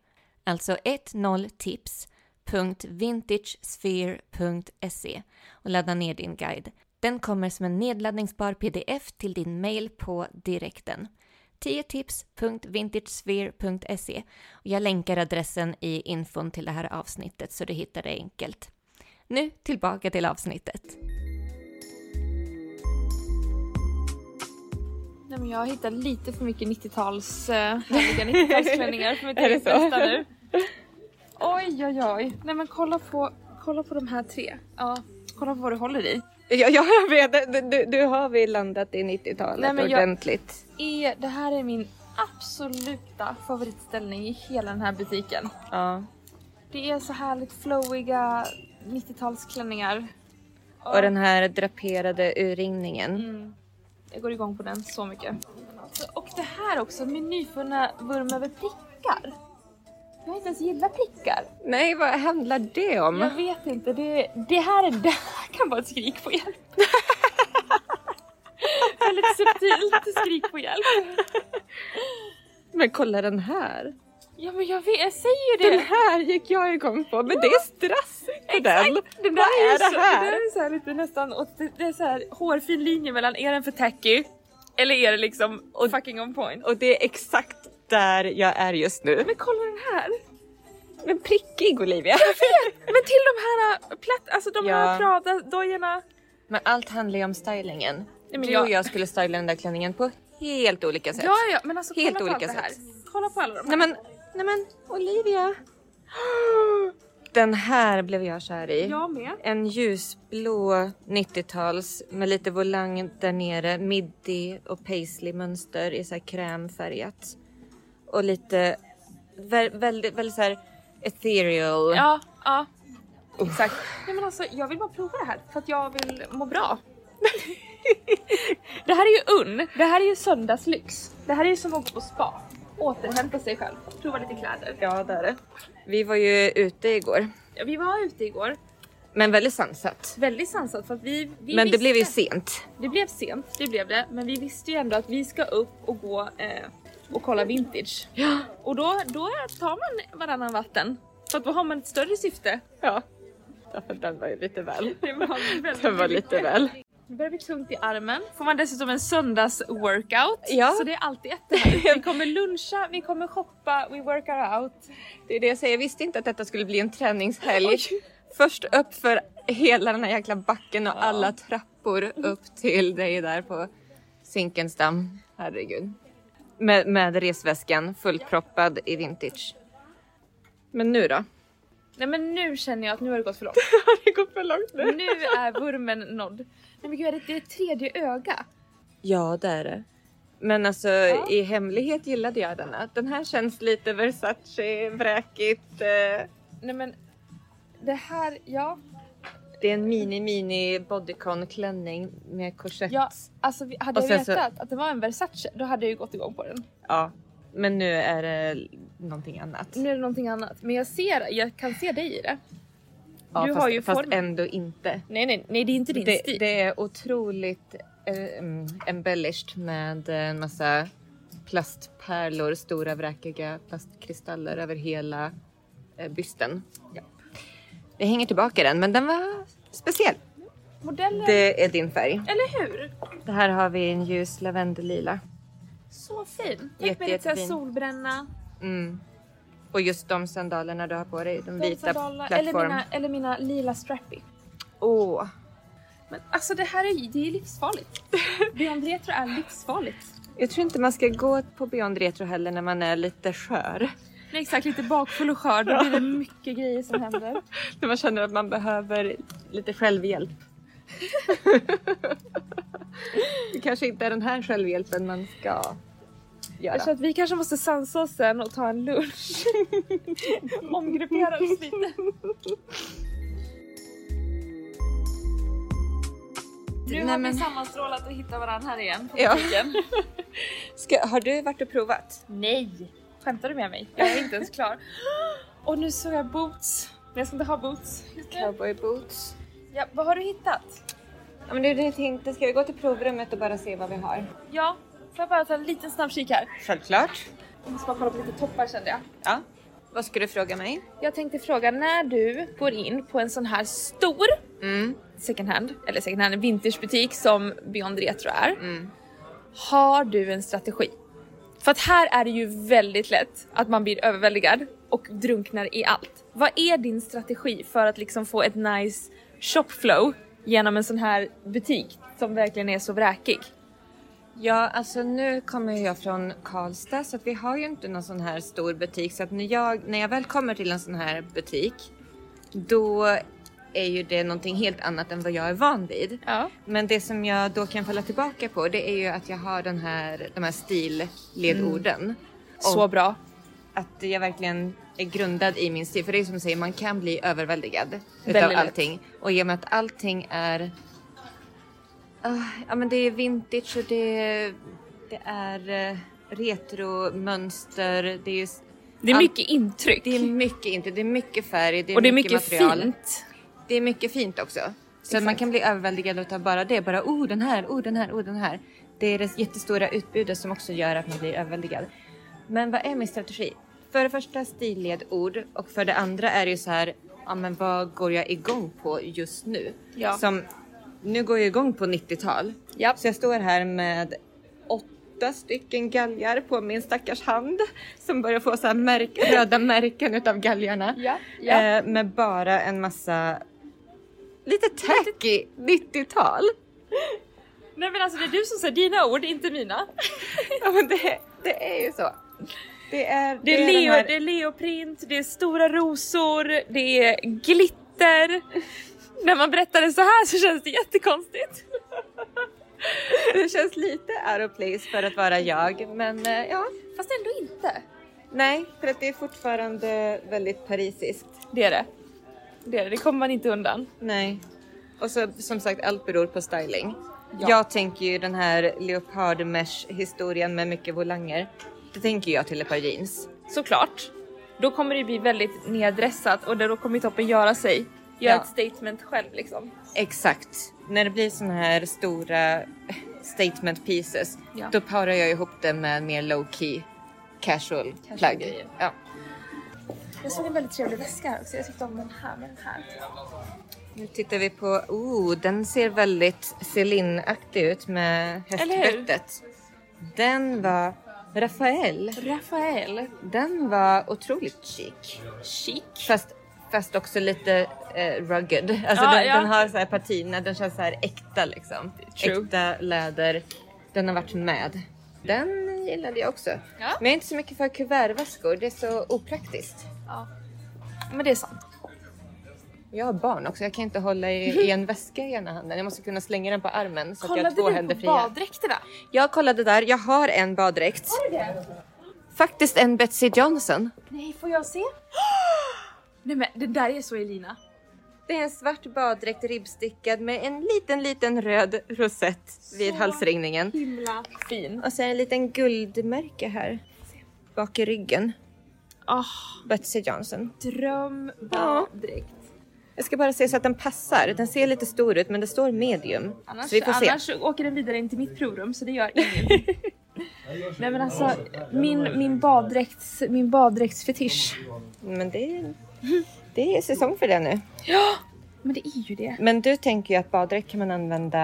[SPEAKER 1] Alltså 10tips.vintagesphere.se och ladda ner din guide. Den kommer som en nedladdningsbar pdf till din mail på direkten. 10tips.vintagesphere.se och jag länkar adressen i infon till det här avsnittet så du hittar det enkelt. Nu tillbaka till avsnittet.
[SPEAKER 2] Nej, men jag har hittat lite för mycket 90-tals, eh, härliga 90-talsklänningar för mitt
[SPEAKER 1] Är det
[SPEAKER 2] eget
[SPEAKER 1] så?
[SPEAKER 2] bästa nu. Oj, oj, oj. Nej men kolla på, kolla på de här tre. Ja, kolla på vad du håller i.
[SPEAKER 1] Ja, jag vet. Du, du har vi landat i 90-talet
[SPEAKER 2] Nej, men jag-
[SPEAKER 1] ordentligt.
[SPEAKER 2] Är, E, det här är min absoluta favoritställning i hela den här butiken.
[SPEAKER 1] Ja.
[SPEAKER 2] Det är så härligt flowiga 90-talsklänningar. Ja.
[SPEAKER 1] Och den här draperade urringningen.
[SPEAKER 2] Mm. Jag går igång på den så mycket. Så, och det här också, min nyfunna vurm över prickar. Jag har inte ens gillat prickar.
[SPEAKER 1] Nej, vad handlar det om?
[SPEAKER 2] Jag vet inte, det, det, här, är, det här kan vara ett skrik på hjälp. Väldigt subtilt skrik på hjälp.
[SPEAKER 1] Men kolla den här.
[SPEAKER 2] Ja men jag, vet, jag säger ju
[SPEAKER 1] Den
[SPEAKER 2] det.
[SPEAKER 1] här gick jag igång på, men det är strass på den.
[SPEAKER 2] Den
[SPEAKER 1] Vad är det
[SPEAKER 2] så,
[SPEAKER 1] här?
[SPEAKER 2] Det där är så här lite nästan, åt- det, det är så här hårfin linje mellan är den för tacky eller är det liksom fucking on point.
[SPEAKER 1] Och det är exakt där jag är just nu.
[SPEAKER 2] Men kolla den här!
[SPEAKER 1] Men prickig Olivia.
[SPEAKER 2] Men till de här äh, platt, alltså de
[SPEAKER 1] Ja.
[SPEAKER 2] här Prada-dojorna.
[SPEAKER 1] Men allt handlar ju om stylingen.
[SPEAKER 2] men
[SPEAKER 1] du
[SPEAKER 2] jag-
[SPEAKER 1] och jag skulle styla den där klänningen på helt olika sätt.
[SPEAKER 2] Ja, ja, men alltså
[SPEAKER 1] Helt
[SPEAKER 2] kolla på
[SPEAKER 1] olika
[SPEAKER 2] allt det här.
[SPEAKER 1] sätt.
[SPEAKER 2] Kolla på alla de
[SPEAKER 1] Nej
[SPEAKER 2] här.
[SPEAKER 1] men, nej men Olivia. Den här blev jag kär i.
[SPEAKER 2] Jag med.
[SPEAKER 1] En ljusblå 90-tals med lite volang där nere, midi och paisley mönster i så här krämfärgat. Och lite vä- väldigt, väldigt så här ethereal.
[SPEAKER 2] Ja, ja. Exakt. Nej, men alltså, jag vill bara prova det här för att jag vill må bra. det här är ju unn. Det här är ju söndagslyx. Det här är ju som att gå på spa. Återhämta sig själv. Prova lite kläder.
[SPEAKER 1] Ja, det är det. Vi var ju ute igår,
[SPEAKER 2] Ja, vi var ute igår.
[SPEAKER 1] men väldigt sansat.
[SPEAKER 2] Väldigt sansat för att vi,
[SPEAKER 1] men
[SPEAKER 2] vi
[SPEAKER 1] det
[SPEAKER 2] visste-
[SPEAKER 1] blev ju sent.
[SPEAKER 2] Det blev sent, det blev det. Men vi visste ju ändå att vi ska upp och gå eh, och kolla vintage.
[SPEAKER 1] Ja.
[SPEAKER 2] Och då, då tar man varannan vatten. För att då har man ett större syfte.
[SPEAKER 1] Ja. Den var ju lite väl.
[SPEAKER 2] Det var, väldigt
[SPEAKER 1] Den var lite väl.
[SPEAKER 2] Nu börjar det bli tungt i armen. Får man dessutom en söndagsworkout.
[SPEAKER 1] Ja.
[SPEAKER 2] Så det är alltid ett här. Vi kommer luncha, vi kommer shoppa, we work our out.
[SPEAKER 1] Det är det jag säger, jag visste inte att detta skulle bli en träningshelg. Först upp för hela den här jäkla backen och alla trappor upp till dig där på Zinkensdamm. Herregud. Med, med resväskan fullproppad i vintage. Men nu då?
[SPEAKER 2] Nej men nu känner jag att nu har det gått för långt.
[SPEAKER 1] Det går för långt
[SPEAKER 2] Nu är vurmen nådd. Nej men gud, är det- det är ett tredje öga.
[SPEAKER 1] Ja, det är det. Men alltså i hemlighet gillade jag denna. Den här känns lite Versace, vräkigt. Eh,
[SPEAKER 2] Nej men det här, ja.
[SPEAKER 1] det är en mini mini bodycon klänning med korsett.
[SPEAKER 2] ja alltså vi, hade
[SPEAKER 1] Och
[SPEAKER 2] jag
[SPEAKER 1] sen så-
[SPEAKER 2] vetat att det var en Versace då hade jag ju gått igång på den.
[SPEAKER 1] Ja, men nu är det någonting annat.
[SPEAKER 2] Nu är det någonting annat. Men jag ser, jag kan se dig i det.
[SPEAKER 1] Ja,
[SPEAKER 2] du
[SPEAKER 1] fast,
[SPEAKER 2] har ju
[SPEAKER 1] fast
[SPEAKER 2] formen.
[SPEAKER 1] ändå inte.
[SPEAKER 2] Nej nej, nej det är inte din
[SPEAKER 1] Det,
[SPEAKER 2] stil.
[SPEAKER 1] det är otroligt eh, mm, embellished med eh, en massa plastpärlor, stora vräkiga plastkristaller över hela eh, bysten. Jag hänger tillbaka den, men den var speciell.
[SPEAKER 2] Modellen,
[SPEAKER 1] Det är din färg.
[SPEAKER 2] eller hur?
[SPEAKER 1] Det här har vi en ljus lavendellila.
[SPEAKER 2] Så fin. Tänk
[SPEAKER 1] Jätte,
[SPEAKER 2] med lite så här
[SPEAKER 1] jättefin.
[SPEAKER 2] solbränna.
[SPEAKER 1] Mm. Och just de sandalerna du har på dig, de
[SPEAKER 2] De
[SPEAKER 1] vita
[SPEAKER 2] sandaler- eller
[SPEAKER 1] plattform.
[SPEAKER 2] mina, eller mina lila strappy.
[SPEAKER 1] Åh,
[SPEAKER 2] Men alltså det här är, det är livsfarligt. Beyond retro är livsfarligt.
[SPEAKER 1] Jag tror inte man ska gå på Beyond Retro heller när man är lite skör.
[SPEAKER 2] Nej, exakt, lite bakfull och skör. Då blir det mycket grejer som händer.
[SPEAKER 1] När man känner att man behöver lite självhjälp. det kanske inte är den här självhjälpen man ska göra.
[SPEAKER 2] Jag tror att vi kanske måste sansa oss sen och ta en lunch. Omgruppera oss lite. Nu
[SPEAKER 1] Nej,
[SPEAKER 2] har
[SPEAKER 1] men-
[SPEAKER 2] vi sammanstrålat och hittat varandra här igen. på
[SPEAKER 1] Ja.
[SPEAKER 2] butiken.
[SPEAKER 1] Ska, har du varit och provat?
[SPEAKER 2] Nej! Skämtar du med mig? Jag är inte ens klar. Och nu såg jag boots. Men jag ska inte ha boots.
[SPEAKER 1] Cowboy boots.
[SPEAKER 2] Ja, vad har du hittat?
[SPEAKER 1] Ja, men du, det tänkte, ska vi gå till provrummet och bara se vad vi har?
[SPEAKER 2] Ja, får jag bara ta en liten snabb kik här?
[SPEAKER 1] Självklart.
[SPEAKER 2] Jag måste bara kolla på lite toppar kände jag.
[SPEAKER 1] Ja. Vad ska du fråga mig?
[SPEAKER 2] Jag tänkte fråga, när du går in på en sån här stor
[SPEAKER 1] Mm,
[SPEAKER 2] second hand, eller second hand, en vintagebutik som Beyond Retro är.
[SPEAKER 1] mm.
[SPEAKER 2] Har du en strategi? För att här är det ju väldigt lätt att man blir överväldigad och drunknar i allt. Vad är din strategi för att liksom få ett nice shopflow genom en sån här butik som verkligen är så vräkig?
[SPEAKER 1] Ja, alltså nu kommer jag från Karlstad så att vi har ju inte någon sån här stor butik så att när jag, när jag väl kommer till en sån här butik då är ju det någonting helt annat än vad jag är van vid.
[SPEAKER 2] Ja.
[SPEAKER 1] Men det som jag då kan falla tillbaka på det är ju att jag har den här, de här stilledorden.
[SPEAKER 2] Så bra.
[SPEAKER 1] att jag verkligen är grundad i min stil. För det är som du säger, man kan bli överväldigad utav
[SPEAKER 2] Väldigt lätt.
[SPEAKER 1] allting. Och i och med att allting är... Ah, ja men det är vintage och det är, det är eh, retromönster. Det är, just-
[SPEAKER 2] Det är
[SPEAKER 1] Ja.
[SPEAKER 2] mycket intryck.
[SPEAKER 1] det är mycket inte, det är mycket färg, det är,
[SPEAKER 2] och det är
[SPEAKER 1] mycket,
[SPEAKER 2] mycket
[SPEAKER 1] material.
[SPEAKER 2] fint.
[SPEAKER 1] Det är mycket fint också. Så
[SPEAKER 2] Exakt.
[SPEAKER 1] man kan bli överväldigad utav bara det. Bara oh den här, oh den här, oh den här. Det är det jättestora utbudet som också gör att man blir överväldigad. Men vad är min strategi? För det första stilledord och för det andra är det ju så här, ja men vad går jag igång på just nu?
[SPEAKER 2] Ja.
[SPEAKER 1] Som, nu går jag igång på 90-tal.
[SPEAKER 2] Japp.
[SPEAKER 1] Så jag står här med åtta stycken galgar på min stackars hand som börjar få så här märk, röda märken utav galgarna.
[SPEAKER 2] Ja, ja.
[SPEAKER 1] Eh, med bara en massa lite tacky 90-tal.
[SPEAKER 2] Nej men alltså det är du som säger dina ord, inte mina.
[SPEAKER 1] Ja, men det, det är ju så. Det är,
[SPEAKER 2] Det är,
[SPEAKER 1] den
[SPEAKER 2] leo,
[SPEAKER 1] här-
[SPEAKER 2] det är leoprint, det är stora rosor, det är glitter. När man berättar det så här så känns det jättekonstigt.
[SPEAKER 1] det känns lite out of place för att vara jag. Men eh, ja,
[SPEAKER 2] Fast ändå inte.
[SPEAKER 1] nej, för att det är fortfarande väldigt parisiskt.
[SPEAKER 2] Det är det. Det är det, det kommer man inte undan.
[SPEAKER 1] Nej. Och så som sagt, allt beror på styling.
[SPEAKER 2] Ja.
[SPEAKER 1] Jag tänker ju den här leopardmesh historien med mycket volanger. Det tänker jag till ett par jeans.
[SPEAKER 2] Såklart. Då kommer det bli väldigt neddressat och då kommer ju toppen göra sig. Göra
[SPEAKER 1] Ja.
[SPEAKER 2] ett statement själv liksom.
[SPEAKER 1] Exakt. När det blir såna här stora statement pieces,
[SPEAKER 2] Ja.
[SPEAKER 1] då parar jag ihop det med en mer low key casual, plagg.
[SPEAKER 2] grejer.
[SPEAKER 1] Ja.
[SPEAKER 2] Jag såg en väldigt trevlig väska här också, jag tyckte om den här med den här.
[SPEAKER 1] Nu tittar vi på, oh, den ser väldigt Celine-aktig ut med
[SPEAKER 2] Eller hur?
[SPEAKER 1] hästbettet. Den var Rafael.
[SPEAKER 2] Rafael.
[SPEAKER 1] Den var otroligt chic.
[SPEAKER 2] Chic.
[SPEAKER 1] Fast, fast också lite eh, rugged. Alltså
[SPEAKER 2] Ja,
[SPEAKER 1] den,
[SPEAKER 2] ja.
[SPEAKER 1] den har så här patina, den känns så här äkta liksom.
[SPEAKER 2] True.
[SPEAKER 1] Äkta läder. Den har varit med. Den gillade jag också.
[SPEAKER 2] Ja.
[SPEAKER 1] Men jag är inte så mycket för kuvertväskor, det är så opraktiskt.
[SPEAKER 2] Ja. Men det är sant.
[SPEAKER 1] Jag har barn också, jag kan inte hålla i, i en väska i ena handen. Jag måste kunna slänga den på armen så att jag har två
[SPEAKER 2] Kollade
[SPEAKER 1] händer
[SPEAKER 2] du på
[SPEAKER 1] fria.
[SPEAKER 2] baddräkterna?
[SPEAKER 1] Jag kollade där, jag har en baddräkt. Faktiskt en Betsy Johnson.
[SPEAKER 2] Nej, får jag se? Nej men det där är så Elina.
[SPEAKER 1] Det är en svart baddräkt ribbstickad med en liten, liten röd rosett vid halsringningen.
[SPEAKER 2] Himla fin.
[SPEAKER 1] Och så en liten guldmärke här bak i ryggen.
[SPEAKER 2] Ah,
[SPEAKER 1] Betsy Johnson.
[SPEAKER 2] dröm baddräkt.
[SPEAKER 1] Jag ska bara se så att den passar. Den ser lite stor ut men det står medium.
[SPEAKER 2] Annars,
[SPEAKER 1] så vi får se.
[SPEAKER 2] annars åker den vidare in till mitt provrum så det gör ingenting. Nej men alltså min, min, baddräkts, min baddräktsfetisch.
[SPEAKER 1] Men det är, det är säsong för det nu.
[SPEAKER 2] Men det är ju det.
[SPEAKER 1] Men du tänker ju att baddräkt kan man använda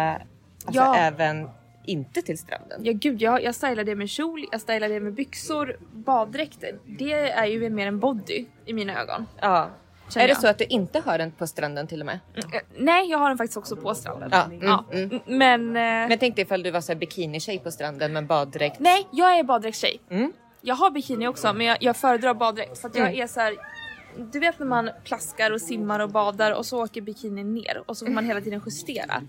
[SPEAKER 1] alltså,
[SPEAKER 2] Ja.
[SPEAKER 1] även inte till stranden.
[SPEAKER 2] Ja gud jag, jag stylar det med kjol, jag stylar det med byxor. Baddräkten, det är ju mer en body i mina ögon.
[SPEAKER 1] Ja. Är
[SPEAKER 2] känner
[SPEAKER 1] det
[SPEAKER 2] jag.
[SPEAKER 1] så att du inte har den på stranden till och med?
[SPEAKER 2] Eh, Nej, jag har den faktiskt också på stranden.
[SPEAKER 1] Mm. Ja. Mm,
[SPEAKER 2] Ja.
[SPEAKER 1] Mm.
[SPEAKER 2] m- Men, eh,
[SPEAKER 1] Men tänk dig ifall du var så här bikinitjej på stranden med baddräkt.
[SPEAKER 2] nej, jag är baddräktstjej.
[SPEAKER 1] Mm.
[SPEAKER 2] Jag har bikini också men jag, jag föredrar baddräkt för att jag
[SPEAKER 1] Mm.
[SPEAKER 2] är så här. Du vet när man plaskar och simmar och badar och så åker bikinin ner och så får man hela tiden justera.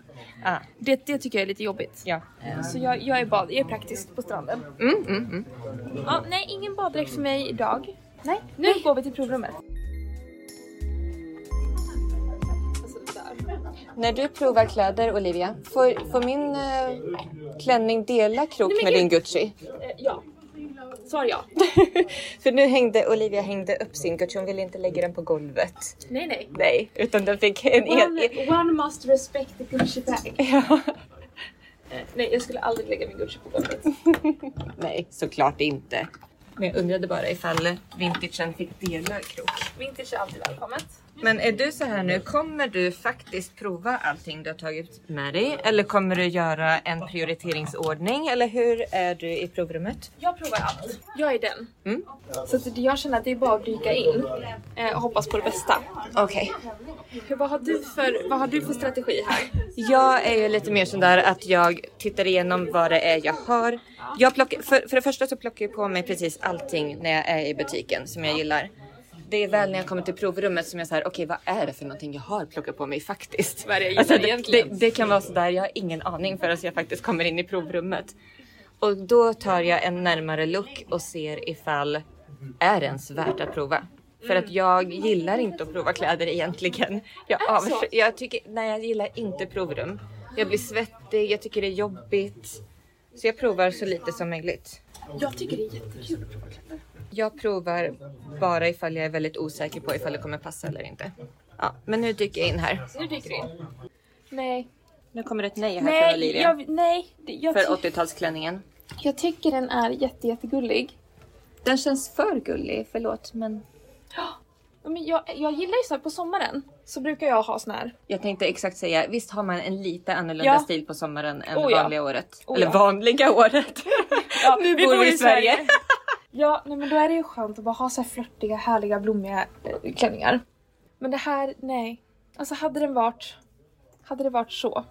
[SPEAKER 1] Ah,
[SPEAKER 2] Det, det tycker jag är lite jobbigt.
[SPEAKER 1] ja.
[SPEAKER 2] Eh, Så jag, jag, är bad, jag är praktisk på stranden.
[SPEAKER 1] Mm, mm, mm.
[SPEAKER 2] Ja, nej, ingen baddräkt för mig idag. Nej, nu går vi till provrummet. Alltså, där.
[SPEAKER 1] När du provar kläder Olivia, får, får min eh, klänning dela krok med din Gucci?
[SPEAKER 2] Eh, Ja. Svar ja.
[SPEAKER 1] För nu hängde Olivia hängde upp sin Gucci, hon ville inte lägga den på golvet.
[SPEAKER 2] Nej, nej.
[SPEAKER 1] Nej, utan den fick en
[SPEAKER 2] One,
[SPEAKER 1] egen...
[SPEAKER 2] one must respect the Gucci bag.
[SPEAKER 1] Ja.
[SPEAKER 2] Eh, Nej, jag skulle aldrig lägga min Gucci på golvet.
[SPEAKER 1] Nej, såklart inte. Men jag undrade bara ifall vintagen fick dela krok.
[SPEAKER 2] Vintage är alltid välkommet.
[SPEAKER 1] Men är du så här nu, kommer du faktiskt prova allting du har tagit med dig? Eller kommer du göra en prioriteringsordning? Eller hur är du i provrummet?
[SPEAKER 2] Jag provar allt. Jag är den.
[SPEAKER 1] Mm.
[SPEAKER 2] Så att jag känner att det är bara att dyka in eh, och hoppas på det bästa.
[SPEAKER 1] Okej.
[SPEAKER 2] Hur, vad, har du för, vad har du för strategi här?
[SPEAKER 1] Jag är ju lite mer sån där att jag tittar igenom vad det är jag har. Jag plockar, för, för det första så plockar jag på mig precis allting när jag är i butiken som jag gillar. Det är väl när jag kommer till provrummet som jag säger okej vad är det för någonting jag har plockat på mig faktiskt?
[SPEAKER 2] Vad är det jag gillar
[SPEAKER 1] alltså, det, det,
[SPEAKER 2] egentligen?
[SPEAKER 1] det kan vara sådär, jag har ingen aning förrän jag faktiskt kommer in i provrummet. Och då tar jag en närmare look och ser ifall är det ens värt att prova? För att jag gillar inte att prova kläder egentligen. Jag,
[SPEAKER 2] Är det så?
[SPEAKER 1] avsky, jag, tycker, nej, jag gillar inte provrum. Jag blir svettig, jag tycker det är jobbigt. Så jag provar så lite som möjligt.
[SPEAKER 2] Jag tycker det är jättekul att prova kläder.
[SPEAKER 1] Jag provar bara ifall jag är väldigt osäker på ifall det kommer passa eller inte. Ja, men nu dyker jag in här.
[SPEAKER 2] Nu dyker du in. Nej.
[SPEAKER 1] Nu kommer ett nej här från
[SPEAKER 2] Nej,
[SPEAKER 1] Olivia.
[SPEAKER 2] jag, nej. det- Jag,
[SPEAKER 1] För
[SPEAKER 2] ty,
[SPEAKER 1] 80-talsklänningen.
[SPEAKER 2] jag tycker den är jätte, jättegullig.
[SPEAKER 1] Den känns för gullig, förlåt men
[SPEAKER 2] Men jag, jag gillar ju så här, på sommaren så brukar jag ha sån här.
[SPEAKER 1] Jag tänkte exakt säga, visst har man en lite annorlunda
[SPEAKER 2] Ja.
[SPEAKER 1] stil på sommaren än
[SPEAKER 2] Oh ja.
[SPEAKER 1] vanliga året?
[SPEAKER 2] Oh
[SPEAKER 1] Eller
[SPEAKER 2] ja.
[SPEAKER 1] vanliga året!
[SPEAKER 2] Ja,
[SPEAKER 1] nu bor vi i Sverige!
[SPEAKER 2] Ja, nej, men då är det ju skönt att bara ha så här flörtiga, härliga, blommiga eh, klänningar. Men det här, nej. Alltså hade den varit, hade det varit så,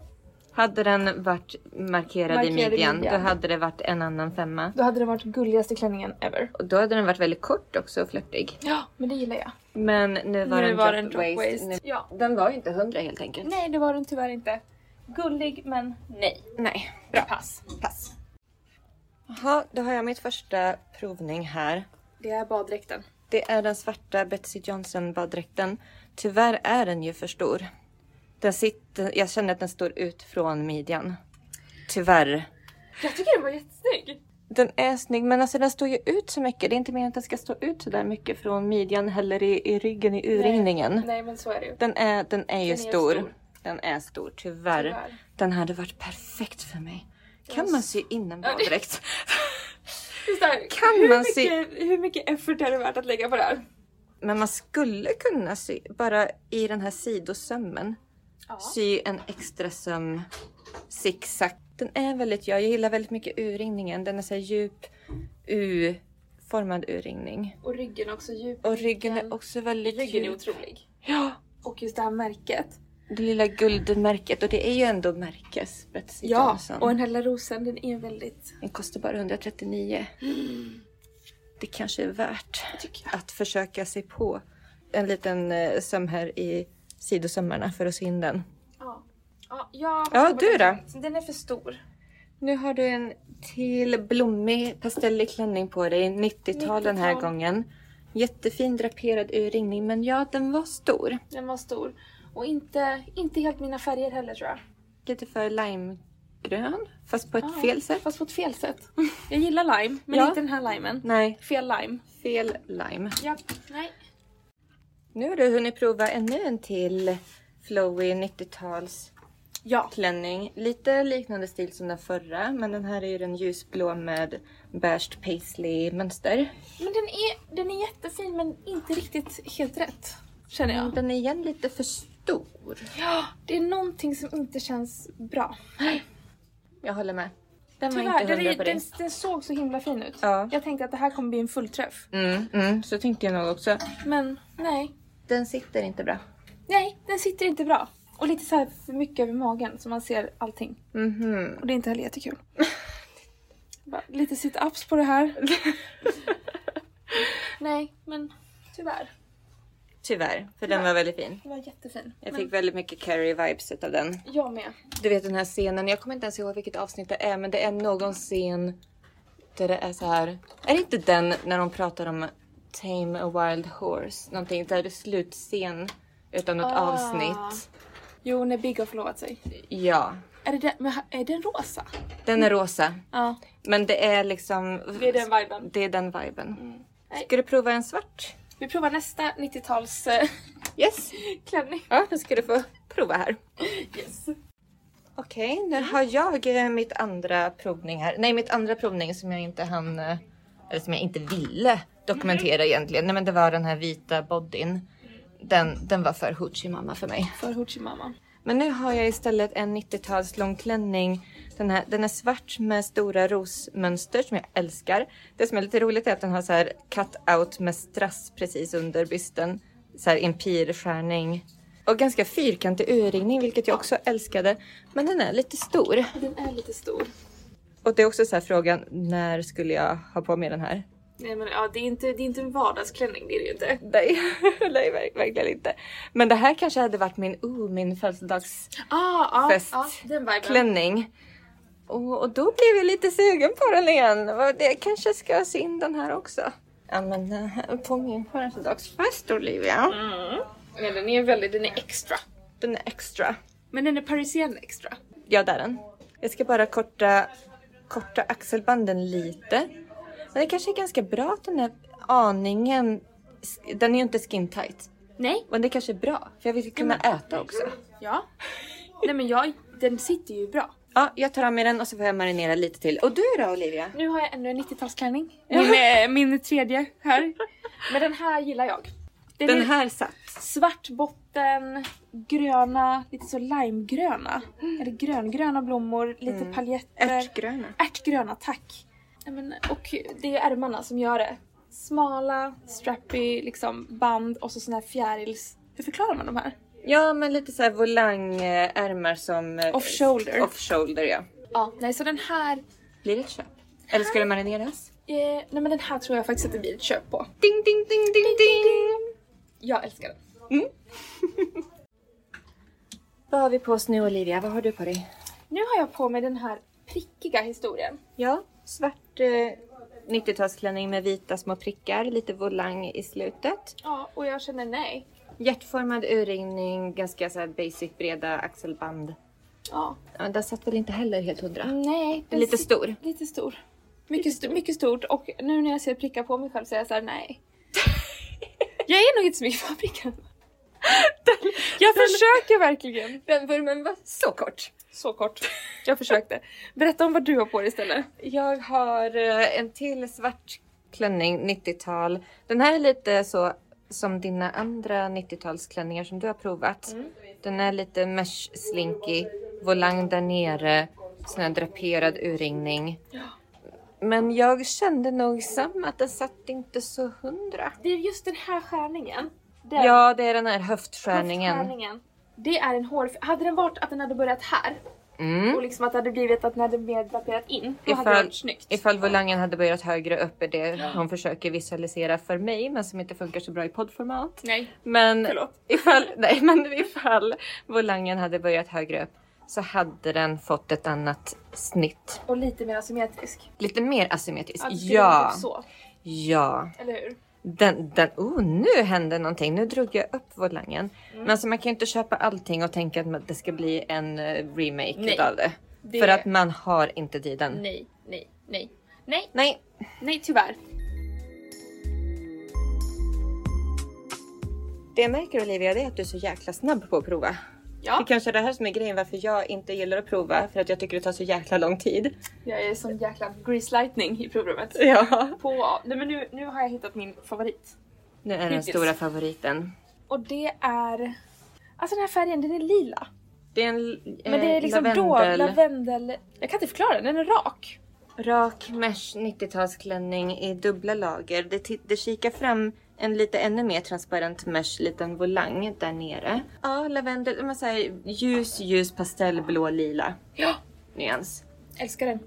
[SPEAKER 1] Hade den varit markerad i
[SPEAKER 2] Markerad i
[SPEAKER 1] midjan,
[SPEAKER 2] midjan.
[SPEAKER 1] då hade det varit en annan femma.
[SPEAKER 2] då hade det varit gulligaste klänningen ever.
[SPEAKER 1] Och då hade den varit väldigt kort också och flörtig.
[SPEAKER 2] Ja, men det gillar jag.
[SPEAKER 1] Men nu var
[SPEAKER 2] nu
[SPEAKER 1] den
[SPEAKER 2] var
[SPEAKER 1] drop
[SPEAKER 2] den drop waist.
[SPEAKER 1] waist.
[SPEAKER 2] Ja.
[SPEAKER 1] Nu- Den var ju inte hundra helt enkelt.
[SPEAKER 2] Nej, det var den tyvärr inte. Gullig, men nej.
[SPEAKER 1] Nej.
[SPEAKER 2] Bra pass.
[SPEAKER 1] Pass. Jaha, då har jag mitt första provning här.
[SPEAKER 2] Det är baddräkten.
[SPEAKER 1] Det är den svarta Betsy Johnson baddräkten. Tyvärr är den ju för stor. Den sitter, jag känner att den står ut från midjan. Tyvärr.
[SPEAKER 2] Jag tycker den var jättesnygg.
[SPEAKER 1] Den är snygg men alltså den står ju ut så mycket. Det är inte meningen att den ska stå ut så där mycket från midjan heller i, i ryggen i urringningen.
[SPEAKER 2] Nej, men så är det ju.
[SPEAKER 1] Den är, den är ju
[SPEAKER 2] Den är
[SPEAKER 1] stor.
[SPEAKER 2] stor.
[SPEAKER 1] Den är stor, tyvärr.
[SPEAKER 2] Tyvärr.
[SPEAKER 1] Den hade varit perfekt för mig. Kan man sy in en
[SPEAKER 2] Ja, det-
[SPEAKER 1] baddräkt?
[SPEAKER 2] Just det här,
[SPEAKER 1] Kan
[SPEAKER 2] hur,
[SPEAKER 1] man
[SPEAKER 2] mycket,
[SPEAKER 1] se-
[SPEAKER 2] hur mycket effort är det värt att lägga på det här?
[SPEAKER 1] Men man skulle kunna sy, bara i den här sidosömmen, sy en extra söm zigzag. Den är väldigt, jag, jag gillar väldigt mycket urringningen. Den är så här djup U-formad urringning.
[SPEAKER 2] Och ryggen också djup.
[SPEAKER 1] Och ryggen är också väldigt
[SPEAKER 2] Ryggen är
[SPEAKER 1] djup.
[SPEAKER 2] otrolig.
[SPEAKER 1] Ja,
[SPEAKER 2] Och just det här märket.
[SPEAKER 1] det lilla guldmärket och det är ju ändå märkes Betsy
[SPEAKER 2] Ja,
[SPEAKER 1] Johnson.
[SPEAKER 2] och den här lilla rosen den är väldigt...
[SPEAKER 1] Den kostar bara 139. Det kanske är värt
[SPEAKER 2] Tycker
[SPEAKER 1] att försöka sig på en liten eh, söm här i sidosömmarna för att sy in den.
[SPEAKER 2] Ja. Ja, jag
[SPEAKER 1] Ja,
[SPEAKER 2] har
[SPEAKER 1] du då?
[SPEAKER 2] Den är för stor.
[SPEAKER 1] Nu har du en till blommig pastellig klänning på dig, 90-tal den här
[SPEAKER 2] 90-tal.
[SPEAKER 1] gången. Jättefin draperad urringning, men ja, den var stor.
[SPEAKER 2] Den var stor. Och inte, inte helt mina färger heller tror jag.
[SPEAKER 1] Lite för limegrön, fast på ett
[SPEAKER 2] Ja,
[SPEAKER 1] fel sätt.
[SPEAKER 2] Fast på ett fel sätt. Jag gillar lime, men
[SPEAKER 1] Ja.
[SPEAKER 2] inte den här limen.
[SPEAKER 1] Nej,
[SPEAKER 2] Fel lime.
[SPEAKER 1] fel lime.
[SPEAKER 2] Ja, nej.
[SPEAKER 1] Nu har du hunnit prova ännu en till flowy 90-tals
[SPEAKER 2] Ja.
[SPEAKER 1] klänning. Lite liknande stil som den förra, men den här är ju den ljusblå med beige paisley mönster.
[SPEAKER 2] Men den är, den är jättefin men inte riktigt helt rätt. Känner jag.
[SPEAKER 1] Den är igen lite för stor.
[SPEAKER 2] Ja, det är någonting som inte känns bra.
[SPEAKER 1] Jag håller med. Den var
[SPEAKER 2] Tyvärr,
[SPEAKER 1] inte
[SPEAKER 2] den,
[SPEAKER 1] hundra
[SPEAKER 2] är,
[SPEAKER 1] på dig.
[SPEAKER 2] den, den såg så himla fin ut.
[SPEAKER 1] Ja.
[SPEAKER 2] Jag tänkte att det här kommer bli en fullträff.
[SPEAKER 1] Mm, mm, så tänkte jag nog också.
[SPEAKER 2] Men nej.
[SPEAKER 1] Den sitter inte bra.
[SPEAKER 2] Nej, den sitter inte bra. Och lite så här för mycket över magen så man ser allting.
[SPEAKER 1] Mhm.
[SPEAKER 2] Och det är inte heller jättekul. Bara, lite sit-ups på det här. Nej, men tyvärr.
[SPEAKER 1] Tyvärr, för den var väldigt fin.
[SPEAKER 2] Den var jättefin.
[SPEAKER 1] Jag
[SPEAKER 2] men
[SPEAKER 1] fick väldigt mycket Carrie-vibes utav den.
[SPEAKER 2] jag med.
[SPEAKER 1] Du vet den här scenen, jag kommer inte ens ihåg vilket avsnitt det är, men det är någon scen där det är så här. Är det inte den när de pratar om Tame a Wild Horse? Någonting, där det är slutscen utav något
[SPEAKER 2] Ah.
[SPEAKER 1] avsnitt.
[SPEAKER 2] Jo, när Big har förlovat sig.
[SPEAKER 1] Ja,
[SPEAKER 2] Är, det den, men ha- är den rosa?
[SPEAKER 1] den är rosa.
[SPEAKER 2] Ja.
[SPEAKER 1] Men det är liksom...
[SPEAKER 2] Mm. Det är den Mm. viben.
[SPEAKER 1] Det är den viben.
[SPEAKER 2] Nej.
[SPEAKER 1] Ska du prova en svart?
[SPEAKER 2] Vi provar nästa 90-tals eh,
[SPEAKER 1] Yes.
[SPEAKER 2] klänning.
[SPEAKER 1] Ja, då ska du få prova här.
[SPEAKER 2] Yes.
[SPEAKER 1] Okej, nu har jag eh, mitt andra provning här. Nej, mitt andra provning som jag inte hann, eh, eller som jag inte ville dokumentera egentligen. Nej, men det var den här vita bodyn. Den, den var för hoochie mamma för mig.
[SPEAKER 2] För Hoochie-mamman.
[SPEAKER 1] Men nu har jag istället en 90-tals långklänning. Den, här, den är svart med stora rosmönster som jag älskar. Det som är lite roligt är att den har så här cut-out med strass precis under bysten. Så här i en pilskärning. Och ganska fyrkantig urringning vilket jag också älskade. Men den är lite stor.
[SPEAKER 2] Den är lite stor.
[SPEAKER 1] Och det är också så här frågan, när skulle jag ha på mig den här?
[SPEAKER 2] Nej men ja, det är inte, det är inte en vardagsklänning, det är det ju inte.
[SPEAKER 1] Nej, nej verk- verkligen inte. Men det här kanske hade varit min, oh, min födelsedags...
[SPEAKER 2] Ah, ah,
[SPEAKER 1] Fest.
[SPEAKER 2] ah, den viben.
[SPEAKER 1] klänning. Och, och då blev jag lite sugen på den igen. Vad- Jag kanske ska sy in den här också. Ja men eh, på min födelsedagsfest Olivia.
[SPEAKER 2] Mm. Men den är väldigt, den är extra.
[SPEAKER 1] Den är extra.
[SPEAKER 2] Men den är parisian extra.
[SPEAKER 1] Ja där är den. Jag ska bara korta, korta axelbanden lite. Men det kanske är ganska bra att den är aningen... Den är ju inte skin tight.
[SPEAKER 2] Nej.
[SPEAKER 1] Men det kanske är bra. För jag vill kunna äta också.
[SPEAKER 2] Ja. Nej men jag, den sitter ju bra.
[SPEAKER 1] Ja, jag tar av mig den och så får jag marinera lite till. Och du då Olivia?
[SPEAKER 2] Nu har jag ännu en 90-talsklänning. Min, eh, min tredje här. Men den här gillar jag. Den,
[SPEAKER 1] Den
[SPEAKER 2] är
[SPEAKER 1] här satt.
[SPEAKER 2] svart botten, gröna, lite så limegröna. Eller gröngröna blommor, lite paljetter.
[SPEAKER 1] Ärtgröna.
[SPEAKER 2] Ärtgröna, tack. Nej, men, och det är ärmarna som gör det. Smala, strappy, liksom band och så sån här fjärils... Hur förklarar man de här?
[SPEAKER 1] Ja, men lite så här volangärmar som... eh,
[SPEAKER 2] Off-shoulder.
[SPEAKER 1] Off-shoulder, ja.
[SPEAKER 2] Ja, nej så den här...
[SPEAKER 1] Blir det ett köp? Eller ska det marineras?
[SPEAKER 2] Eh, nej men den här tror jag faktiskt att det blir ett köp på.
[SPEAKER 1] Ding, ding, ding, ding, ding! Mm.
[SPEAKER 2] Jag älskar den.
[SPEAKER 1] Vad har vi på oss nu Olivia? Vad har du på dig?
[SPEAKER 2] Nu har jag på mig den här prickiga historien.
[SPEAKER 1] Ja, svart eh, 90-talsklänning med vita små prickar, lite volang i slutet.
[SPEAKER 2] Ja, och jag känner nej.
[SPEAKER 1] Hjärtformad urringning, ganska så här basic breda axelband.
[SPEAKER 2] Ja.
[SPEAKER 1] Ja, men den satt väl inte heller helt hundra?
[SPEAKER 2] Nej. den
[SPEAKER 1] Lite
[SPEAKER 2] sit-
[SPEAKER 1] stor.
[SPEAKER 2] Lite stor. Mycket, st- mycket stort och nu när jag ser prickar på mig själv så är jag såhär nej. jag är nog inte så mycket för prickar. jag försöker verkligen.
[SPEAKER 1] Den vurmen var så kort.
[SPEAKER 2] Så kort. Jag försökte. Berätta om vad du har på dig istället.
[SPEAKER 1] Jag har eh, en till svart klänning, 90-tal. Den här är lite så som dina andra 90-talsklänningar som du har provat. Den är lite mesh slinky, volang där nere, sån här draperad urringning. Men jag kände nog Sam att den satt inte så hundra.
[SPEAKER 2] Det är just den här skärningen. Den
[SPEAKER 1] Ja, det är den här höftskärningen.
[SPEAKER 2] skärningen. Det är en hår... Hade den varit att den hade börjat här
[SPEAKER 1] Mm.
[SPEAKER 2] och liksom att det hade blivit att den hade mer draperat in, då hade det
[SPEAKER 1] Ifall-
[SPEAKER 2] varit snyggt.
[SPEAKER 1] Ifall volangen hade börjat högre upp är det hon försöker visualisera för mig men som inte funkar så bra i poddformat.
[SPEAKER 2] Nej,
[SPEAKER 1] Men
[SPEAKER 2] Förlåt.
[SPEAKER 1] ifall, nej, men ifall volangen hade börjat högre upp så hade den fått ett annat snitt.
[SPEAKER 2] och lite mer asymmetrisk.
[SPEAKER 1] Lite mer asymmetriskt.
[SPEAKER 2] Att det skulle vara
[SPEAKER 1] Ja,
[SPEAKER 2] Typ så,
[SPEAKER 1] ja.
[SPEAKER 2] eller hur?
[SPEAKER 1] Den, den, oh, nu hände någonting. Nu drog jag upp volangen.
[SPEAKER 2] Mm.
[SPEAKER 1] Men alltså, man kan ju inte köpa allting och tänka att det ska bli en eh, remake
[SPEAKER 2] Nej.
[SPEAKER 1] utav det.
[SPEAKER 2] Det-
[SPEAKER 1] För att man har inte tiden. Nej.
[SPEAKER 2] Nej, nej, nej. Nej,
[SPEAKER 1] nej.
[SPEAKER 2] nej tyvärr.
[SPEAKER 1] Det jag märker Olivia det är att du är så jäkla snabb på att prova. Det
[SPEAKER 2] Ja,
[SPEAKER 1] är kanske är det här som är grejen varför jag inte gillar att prova. För att jag tycker det tar så jäkla lång tid.
[SPEAKER 2] jag är som jäkla grease lightning i programmet.
[SPEAKER 1] Ja.
[SPEAKER 2] På, nej men nu, nu har jag hittat min favorit.
[SPEAKER 1] Nu är den
[SPEAKER 2] Hittills.
[SPEAKER 1] stora favoriten.
[SPEAKER 2] Och det är... Alltså den här färgen, den är lila.
[SPEAKER 1] Det är en
[SPEAKER 2] Men det är liksom
[SPEAKER 1] Eh, lavendel,
[SPEAKER 2] då lavendel... Jag kan inte förklara den, den är rak.
[SPEAKER 1] rak mesh 90-talsklänning i dubbla lager. Det, ti- det kikar fram en lite ännu mer transparent mesh liten volang där nere. Ja, lavendel, man säger ljus, ljus pastellblå, lila
[SPEAKER 2] Ja,
[SPEAKER 1] nyans.
[SPEAKER 2] älskar den.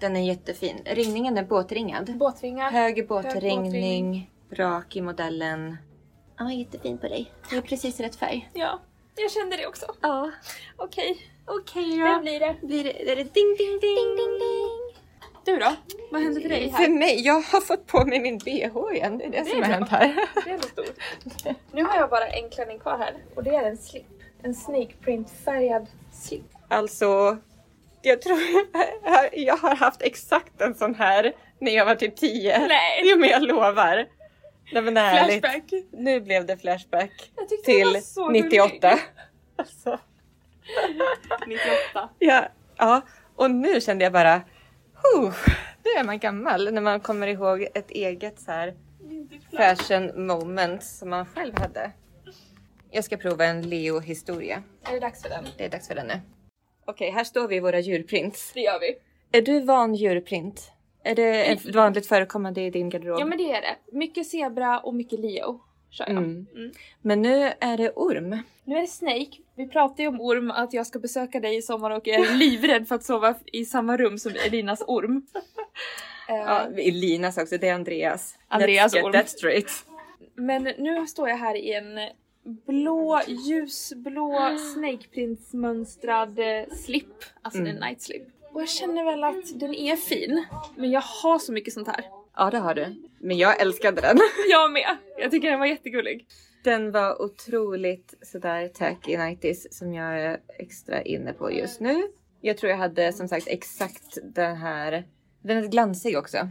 [SPEAKER 1] Den är jättefin. Ringningen är båtringad.
[SPEAKER 2] Båtringar.
[SPEAKER 1] Hög
[SPEAKER 2] båtringning.
[SPEAKER 1] båtringning, rak i modellen. Ja, jättefin på dig. Det är precis rätt färg.
[SPEAKER 2] Ja, jag kände det också.
[SPEAKER 1] Ja,
[SPEAKER 2] Okej,
[SPEAKER 1] okej
[SPEAKER 2] det
[SPEAKER 1] då.
[SPEAKER 2] blir det.
[SPEAKER 1] Blir det, är det ding, ding, ding, ding, ding.
[SPEAKER 2] Du då? Vad hände för dig
[SPEAKER 1] För
[SPEAKER 2] här?
[SPEAKER 1] mig, jag har fått på mig min bh igen. Det är det,
[SPEAKER 2] Det är
[SPEAKER 1] som har
[SPEAKER 2] bra.
[SPEAKER 1] hänt här.
[SPEAKER 2] Det är ändå stort. Nu har jag bara en klänning kvar här och det är en slip. En snake print färgad slip.
[SPEAKER 1] Alltså, jag tror jag har haft exakt en sån här när jag var typ 10.
[SPEAKER 2] Nej.
[SPEAKER 1] Jo men jag lovar. Nej men ärligt.
[SPEAKER 2] Flashback.
[SPEAKER 1] Nu blev det flashback
[SPEAKER 2] Jag tyckte den
[SPEAKER 1] till
[SPEAKER 2] var så
[SPEAKER 1] 98. Alltså,
[SPEAKER 3] 98.
[SPEAKER 1] ja, ja, och nu kände jag bara, huh, nu är man gammal när man kommer ihåg ett eget så här fashion moment som man själv hade. Jag ska prova en Leo-historia.
[SPEAKER 2] Är det dags för den?
[SPEAKER 1] Det är dags för den nu. Okej, här står vi i våra djurprints.
[SPEAKER 2] Det gör vi.
[SPEAKER 1] Är du van djurprint? Är det ett vanligt förekommande i din garderob?
[SPEAKER 2] Ja men det är det. Mycket zebra och mycket leo kör jag.
[SPEAKER 1] Mm. Men nu är det orm.
[SPEAKER 2] Nu är det Snake. Vi pratade ju om orm, att jag ska besöka dig i sommar och jag är livrädd för att sova i samma rum som Elinas orm. Eh,
[SPEAKER 1] Ja, Linas också, det är Andreas.
[SPEAKER 2] Andreas
[SPEAKER 1] Let's get
[SPEAKER 2] orm.
[SPEAKER 1] that straight.
[SPEAKER 2] Men nu står jag här i en blå, ljusblå snakeprintsmönstrad eh, slip. Alltså det är
[SPEAKER 1] Mm.
[SPEAKER 2] en night slip. Och jag känner väl att den är fin, men jag har så mycket sånt här.
[SPEAKER 1] Ja, det har du. Men jag älskade den.
[SPEAKER 2] Jag med! Jag tycker den var jättegullig.
[SPEAKER 1] Den var otroligt sådär tacky nighties som jag är extra inne på just nu. Jag tror jag hade som sagt exakt den här. Den är glansig också.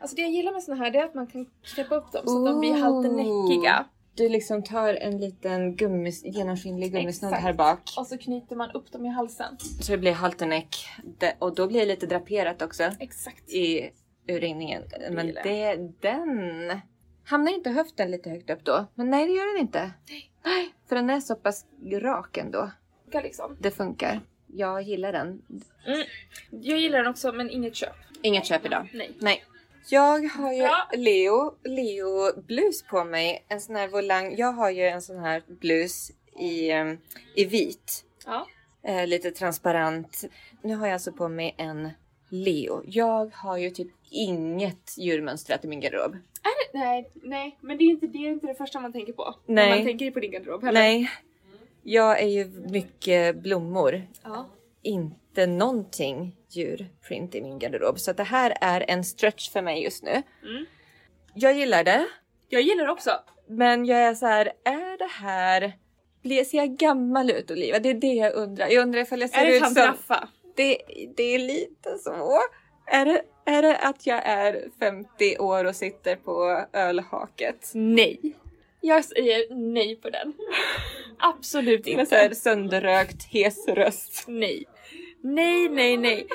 [SPEAKER 2] Alltså det jag gillar med såna här det är att man kan knäppa upp dem så att de blir haltenäckiga.
[SPEAKER 1] Ooh. Du liksom tar en liten gummis, genomskinlig gummisnodd
[SPEAKER 2] Exakt.
[SPEAKER 1] här bak.
[SPEAKER 2] Och så knyter man upp dem i halsen.
[SPEAKER 1] Så det blir halterneck Det- och då blir det lite draperat också
[SPEAKER 2] Exakt.
[SPEAKER 1] i urringningen. Men
[SPEAKER 2] gillar
[SPEAKER 1] det, den... Hamnar inte höften lite högt upp då? Men nej, det gör den inte. Nej, för den är så pass rak ändå.
[SPEAKER 2] Liksom.
[SPEAKER 1] Det funkar. Jag gillar den.
[SPEAKER 2] Jag gillar den också men inget köp.
[SPEAKER 1] Inget köp idag.
[SPEAKER 2] Nej.
[SPEAKER 1] Nej. Jag har ju
[SPEAKER 2] Bra.
[SPEAKER 1] Leo, Leo blus på mig. En sån här volang. Jag har ju en sån här blus i, eh, i vit.
[SPEAKER 2] Ja.
[SPEAKER 1] Eh, lite transparent. Nu har jag alltså på mig en Leo. Jag har ju typ inget djurmönstrat i min garderob.
[SPEAKER 2] Nej, nej, men det är, inte, det är inte det första man tänker på.
[SPEAKER 1] Nej.
[SPEAKER 2] När man tänker på din garderob heller.
[SPEAKER 1] Nej. Jag är ju mycket blommor.
[SPEAKER 2] Ja.
[SPEAKER 1] Inte någonting djurprint i min garderob. Så att det här är en stretch för mig just nu.
[SPEAKER 2] Mm.
[SPEAKER 1] Jag gillar det.
[SPEAKER 2] Jag gillar det också.
[SPEAKER 1] Men jag är så här, är det här... Blir, ser jag gammal ut Olivia? Det är det jag undrar. Jag undrar ifall jag ser
[SPEAKER 2] är det
[SPEAKER 1] ut som...
[SPEAKER 2] tantraffa?
[SPEAKER 1] Det, det är lite så. Är det, är det att jag är 50 år och sitter på ölhaket?
[SPEAKER 2] Nej. Jag säger nej på den. Absolut
[SPEAKER 1] Med så här
[SPEAKER 2] inte.
[SPEAKER 1] sönderrökt, hes röst
[SPEAKER 2] Nej. Nej, nej, nej.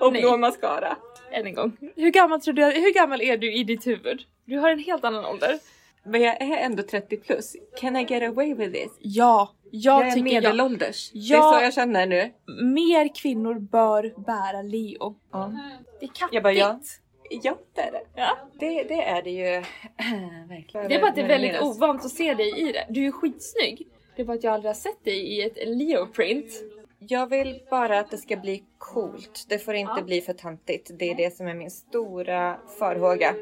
[SPEAKER 1] och
[SPEAKER 2] Nej.
[SPEAKER 1] blå mascara.
[SPEAKER 2] Än en gång. Hur gammal, tror du, hur gammal är du i ditt huvud? Du har en helt annan ålder.
[SPEAKER 1] Men jag är ändå 30 plus. Can I get away with this?
[SPEAKER 2] Ja, jag,
[SPEAKER 1] jag är
[SPEAKER 2] tycker jag,
[SPEAKER 1] medelålders. Det
[SPEAKER 2] Jag-
[SPEAKER 1] är så jag känner nu.
[SPEAKER 2] mer kvinnor bör bära leo.
[SPEAKER 1] Ja.
[SPEAKER 2] Det är kattigt.
[SPEAKER 1] Jag bara, ja. Ja, det är det.
[SPEAKER 2] Ja.
[SPEAKER 1] Det, det är det ju. Verkligen.
[SPEAKER 2] Det är bara att det är
[SPEAKER 1] Men
[SPEAKER 2] väldigt
[SPEAKER 1] menas.
[SPEAKER 2] ovant att se dig i det. Du är ju skitsnygg. Det är bara att jag aldrig har sett dig i ett Leo-print.
[SPEAKER 1] Jag vill bara att det ska bli coolt. Det får inte
[SPEAKER 2] Ja.
[SPEAKER 1] bli för tantigt. Det är det som är min stora farhåga.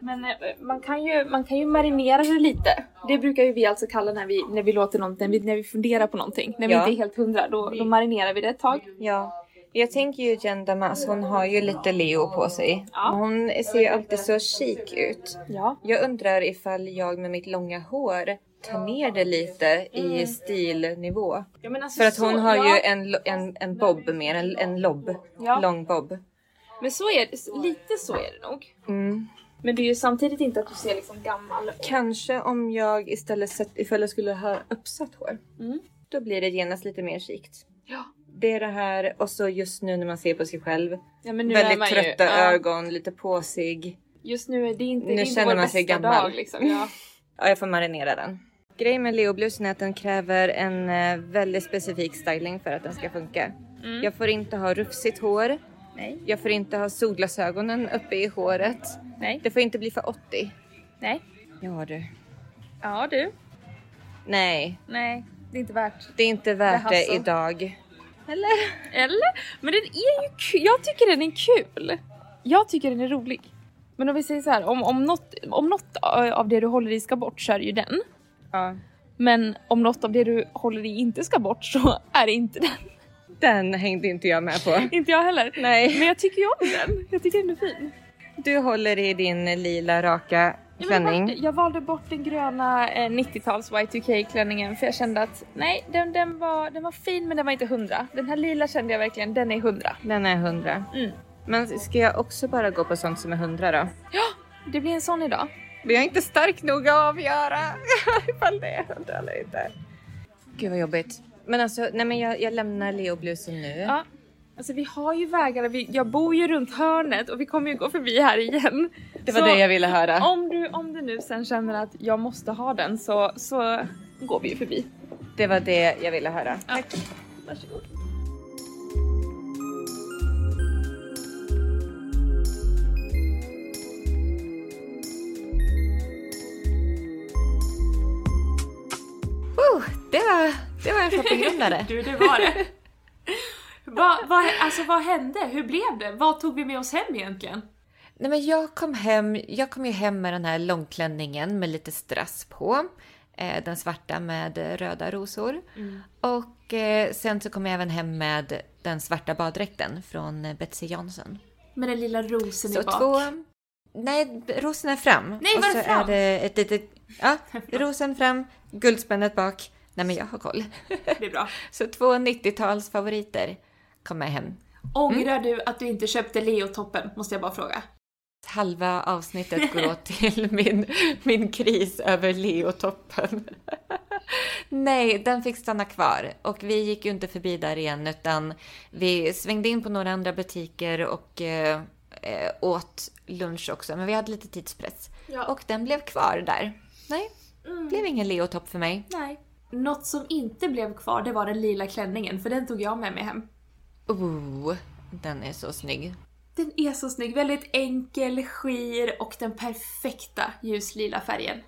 [SPEAKER 2] Men eh, man kan, ju, man kan ju marinera det lite. Det brukar ju vi alltså kalla när vi, när vi låter någonting, när vi, när vi funderar på någonting. När vi
[SPEAKER 1] Ja.
[SPEAKER 2] inte är helt hundra, då, då marinerar vi det ett tag.
[SPEAKER 1] Ja. Jag tänker ju Jen Damas, hon har ju lite Leo på sig.
[SPEAKER 2] Ja.
[SPEAKER 1] Hon ser ju alltid så chic ut.
[SPEAKER 2] Ja.
[SPEAKER 1] Jag undrar ifall jag med mitt långa hår tar ner det lite
[SPEAKER 2] Mm.
[SPEAKER 1] i stilnivå.
[SPEAKER 2] men alltså
[SPEAKER 1] För att hon har ju en, lo- en, en bob mer, en, en lobb.
[SPEAKER 2] Ja.
[SPEAKER 1] Lång bob.
[SPEAKER 2] Men så är det, lite så är det nog.
[SPEAKER 1] Mm.
[SPEAKER 2] Men det är ju samtidigt inte att du ser liksom gammal ut.
[SPEAKER 1] Kanske om jag istället sett, ifall jag skulle ha uppsatt hår.
[SPEAKER 2] Mm.
[SPEAKER 1] Då blir det genast lite mer chikt.
[SPEAKER 2] Ja.
[SPEAKER 1] Det är det här och så just nu när man ser på sig själv.
[SPEAKER 2] Ja, men nu är
[SPEAKER 1] väldigt
[SPEAKER 2] man
[SPEAKER 1] trötta
[SPEAKER 2] ju, ja.
[SPEAKER 1] ögon, lite påsig.
[SPEAKER 2] Just nu är det inte,
[SPEAKER 1] Nu
[SPEAKER 2] det är inte
[SPEAKER 1] känner
[SPEAKER 2] vår
[SPEAKER 1] man sig
[SPEAKER 2] bästa
[SPEAKER 1] gammal.
[SPEAKER 2] dag liksom. Ja.
[SPEAKER 1] Ja, jag får marinera den. Grejen med leoblusen är att den kräver en eh, väldigt specifik styling för att den ska funka.
[SPEAKER 2] Mm.
[SPEAKER 1] Jag får inte ha rufsigt hår.
[SPEAKER 2] Nej.
[SPEAKER 1] Jag får inte ha solglasögonen uppe i håret.
[SPEAKER 2] Nej.
[SPEAKER 1] Det får inte bli för 80.
[SPEAKER 2] Nej.
[SPEAKER 1] Ja du.
[SPEAKER 4] Ja du.
[SPEAKER 1] Nej,
[SPEAKER 4] Nej, det är inte värt.
[SPEAKER 1] det är inte
[SPEAKER 4] Det
[SPEAKER 1] värt
[SPEAKER 4] är
[SPEAKER 1] det
[SPEAKER 4] Hassel.
[SPEAKER 1] idag. Eller?
[SPEAKER 4] Eller? Men den är ju kul. Jag tycker den är kul. Jag tycker den är rolig. Men om vi säger så här, om, om, något, om något av det du håller i ska bort så är det ju den.
[SPEAKER 1] Ja.
[SPEAKER 4] Men om något av det du håller i inte ska bort så är det inte den.
[SPEAKER 1] Den hängde inte jag med på.
[SPEAKER 4] Inte jag heller.
[SPEAKER 1] Nej.
[SPEAKER 4] Men jag tycker ju om den. Jag tycker den är fin.
[SPEAKER 1] Du håller i din lila raka
[SPEAKER 4] Ja, men Jag,
[SPEAKER 1] klänning.
[SPEAKER 4] valde, jag valde bort den gröna eh, 90-tals Y2K-klänningen för jag kände att nej, den, den, var, den var fin men den var inte hundra. Den här lila kände jag verkligen, den är hundra.
[SPEAKER 1] Den är 100.
[SPEAKER 4] Mm.
[SPEAKER 1] Men ska jag också bara gå på sånt som är 100 då?
[SPEAKER 4] Det blir en sån idag.
[SPEAKER 1] Men jag är inte stark nog att avgöra ifall det är 100 eller inte. Gud vad jobbigt. Men alltså, nej men jag, jag lämnar Leo-blusen nu.
[SPEAKER 4] Ja. Alltså vi har ju vägarna, vi, jag bor ju runt hörnet och vi kommer ju gå förbi här igen.
[SPEAKER 1] Det var
[SPEAKER 4] Så
[SPEAKER 1] det jag ville höra.
[SPEAKER 4] Om du, om du nu sen känner att jag måste ha den så, så går vi ju förbi.
[SPEAKER 1] Det var det jag ville höra.
[SPEAKER 4] Tack. Varsågod.
[SPEAKER 1] Oh, det, var, det var en shoppingrundare.
[SPEAKER 2] Du, det var det. Vad, vad, alltså vad hände? Hur blev det? Vad tog vi med oss hem egentligen?
[SPEAKER 1] Nej, men jag, kom hem, jag kom ju hem med den här långklänningen med lite strass på. Eh, den svarta med eh, röda rosor. Och eh, sen så kom jag även hem med den svarta baddräkten från eh, Betsy Johnson.
[SPEAKER 2] Med den lilla rosen
[SPEAKER 1] Så
[SPEAKER 2] i bak.
[SPEAKER 1] två... Nej, rosen är fram.
[SPEAKER 2] Nej,
[SPEAKER 1] och
[SPEAKER 2] var
[SPEAKER 1] så
[SPEAKER 2] det fram?
[SPEAKER 1] är det ett litet... Ja, rosen fram, guldspännet bak. Nej, men jag har koll.
[SPEAKER 2] Det är bra.
[SPEAKER 1] så två 90-talsfavoriter kommer hem.
[SPEAKER 2] Ångrar du att du inte köpte Leo-toppen? Måste jag bara fråga.
[SPEAKER 1] Halva avsnittet går åt till min, min kris över Leo-toppen. Nej, den fick stanna kvar. Och vi gick ju inte förbi där igen utan vi svängde in på några andra butiker och eh, eh, åt lunch också. Men vi hade lite tidspress.
[SPEAKER 2] Ja.
[SPEAKER 1] Och den blev kvar där. Nej, blev ingen Leo-topp för mig.
[SPEAKER 2] Nej. Något som inte blev kvar, det var den lila klänningen, för den tog jag med mig hem.
[SPEAKER 1] Oh, den är så snygg.
[SPEAKER 2] Den är så snygg, väldigt enkel, skir och den perfekta ljuslila färgen.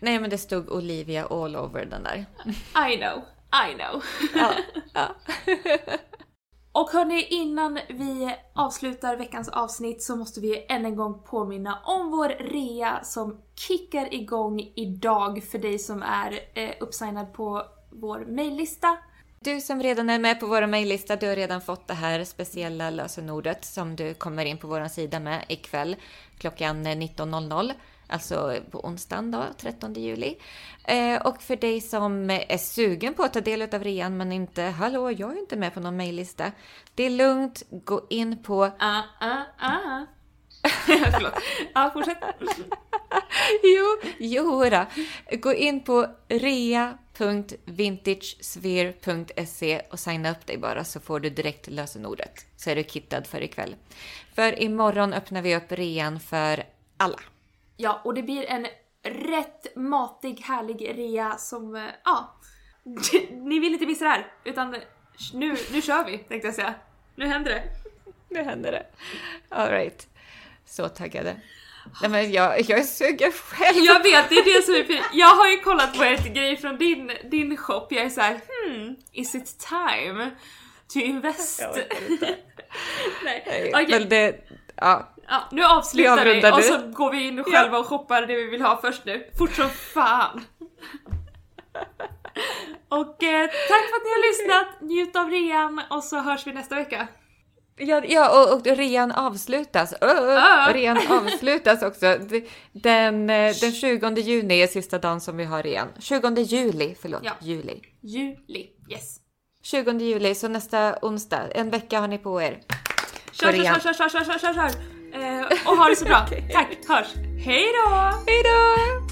[SPEAKER 1] Nej, men det stod Olivia all over den där.
[SPEAKER 2] I know, I know.
[SPEAKER 1] Ja, ja.
[SPEAKER 2] Och hörni, innan vi avslutar veckans avsnitt så måste vi än en gång påminna om vår rea som kickar igång idag för dig som är eh, uppsignad på vår mejllista.
[SPEAKER 1] Du som redan är med på vår mejllista, du har redan fått det här speciella lösenordet som du kommer in på vår sida med ikväll klockan 19.00. Alltså på onsdagen då, 13 juli. Eh, och för dig som är sugen på att ta del av rean men inte, hallå, jag är inte med på någon mejllista. Det är lugnt, gå in på
[SPEAKER 2] Ah, ah, ah. Förlåt. Ja, fortsätt.
[SPEAKER 1] Jo, jodå. Gå in på rea.vintagesphere.se och signa upp dig bara så får du direkt lösenordet. Så är du kittad för ikväll. För imorgon öppnar vi upp rean för alla.
[SPEAKER 2] Ja, och det blir en rätt matig, härlig rea som... eh, Ja. Ni vill inte missa det här, utan nu, nu kör vi, tänkte jag säga. Nu händer det.
[SPEAKER 1] Nu händer det. Alright. Så taggade. Nej, men jag, jag är sugen själv.
[SPEAKER 2] Jag vet, det är det som är fint. Jag har ju kollat på ett grej från din, din shop. Jag är så här, hmm, is it time to invest? Nej, okej.
[SPEAKER 1] Men det, ja,
[SPEAKER 2] Ja, nu avslutar
[SPEAKER 1] Vi
[SPEAKER 2] vi
[SPEAKER 1] avrundar
[SPEAKER 2] och
[SPEAKER 1] nu.
[SPEAKER 2] så går vi in och själva och shoppar det vi vill ha först nu. Fort som fan! och eh, tack för att ni har lyssnat, njut av rean och så hörs vi nästa vecka.
[SPEAKER 1] Ja, ja och, och rean avslutas. Ö, ö,
[SPEAKER 2] Ja.
[SPEAKER 1] Rean avslutas också. D- Den, eh, den 20 juni är sista dagen som vi har rean. 20 juli, förlåt.
[SPEAKER 2] Ja.
[SPEAKER 1] Juli.
[SPEAKER 2] Juli, yes.
[SPEAKER 1] 20 juli, så nästa onsdag. En vecka har ni på er.
[SPEAKER 2] Kör,
[SPEAKER 1] På rean.
[SPEAKER 2] kör, kör, kör, kör, kör, kör, kör! Eh, och ha det så bra. Tack, hörs! Hej då!
[SPEAKER 1] Hej då!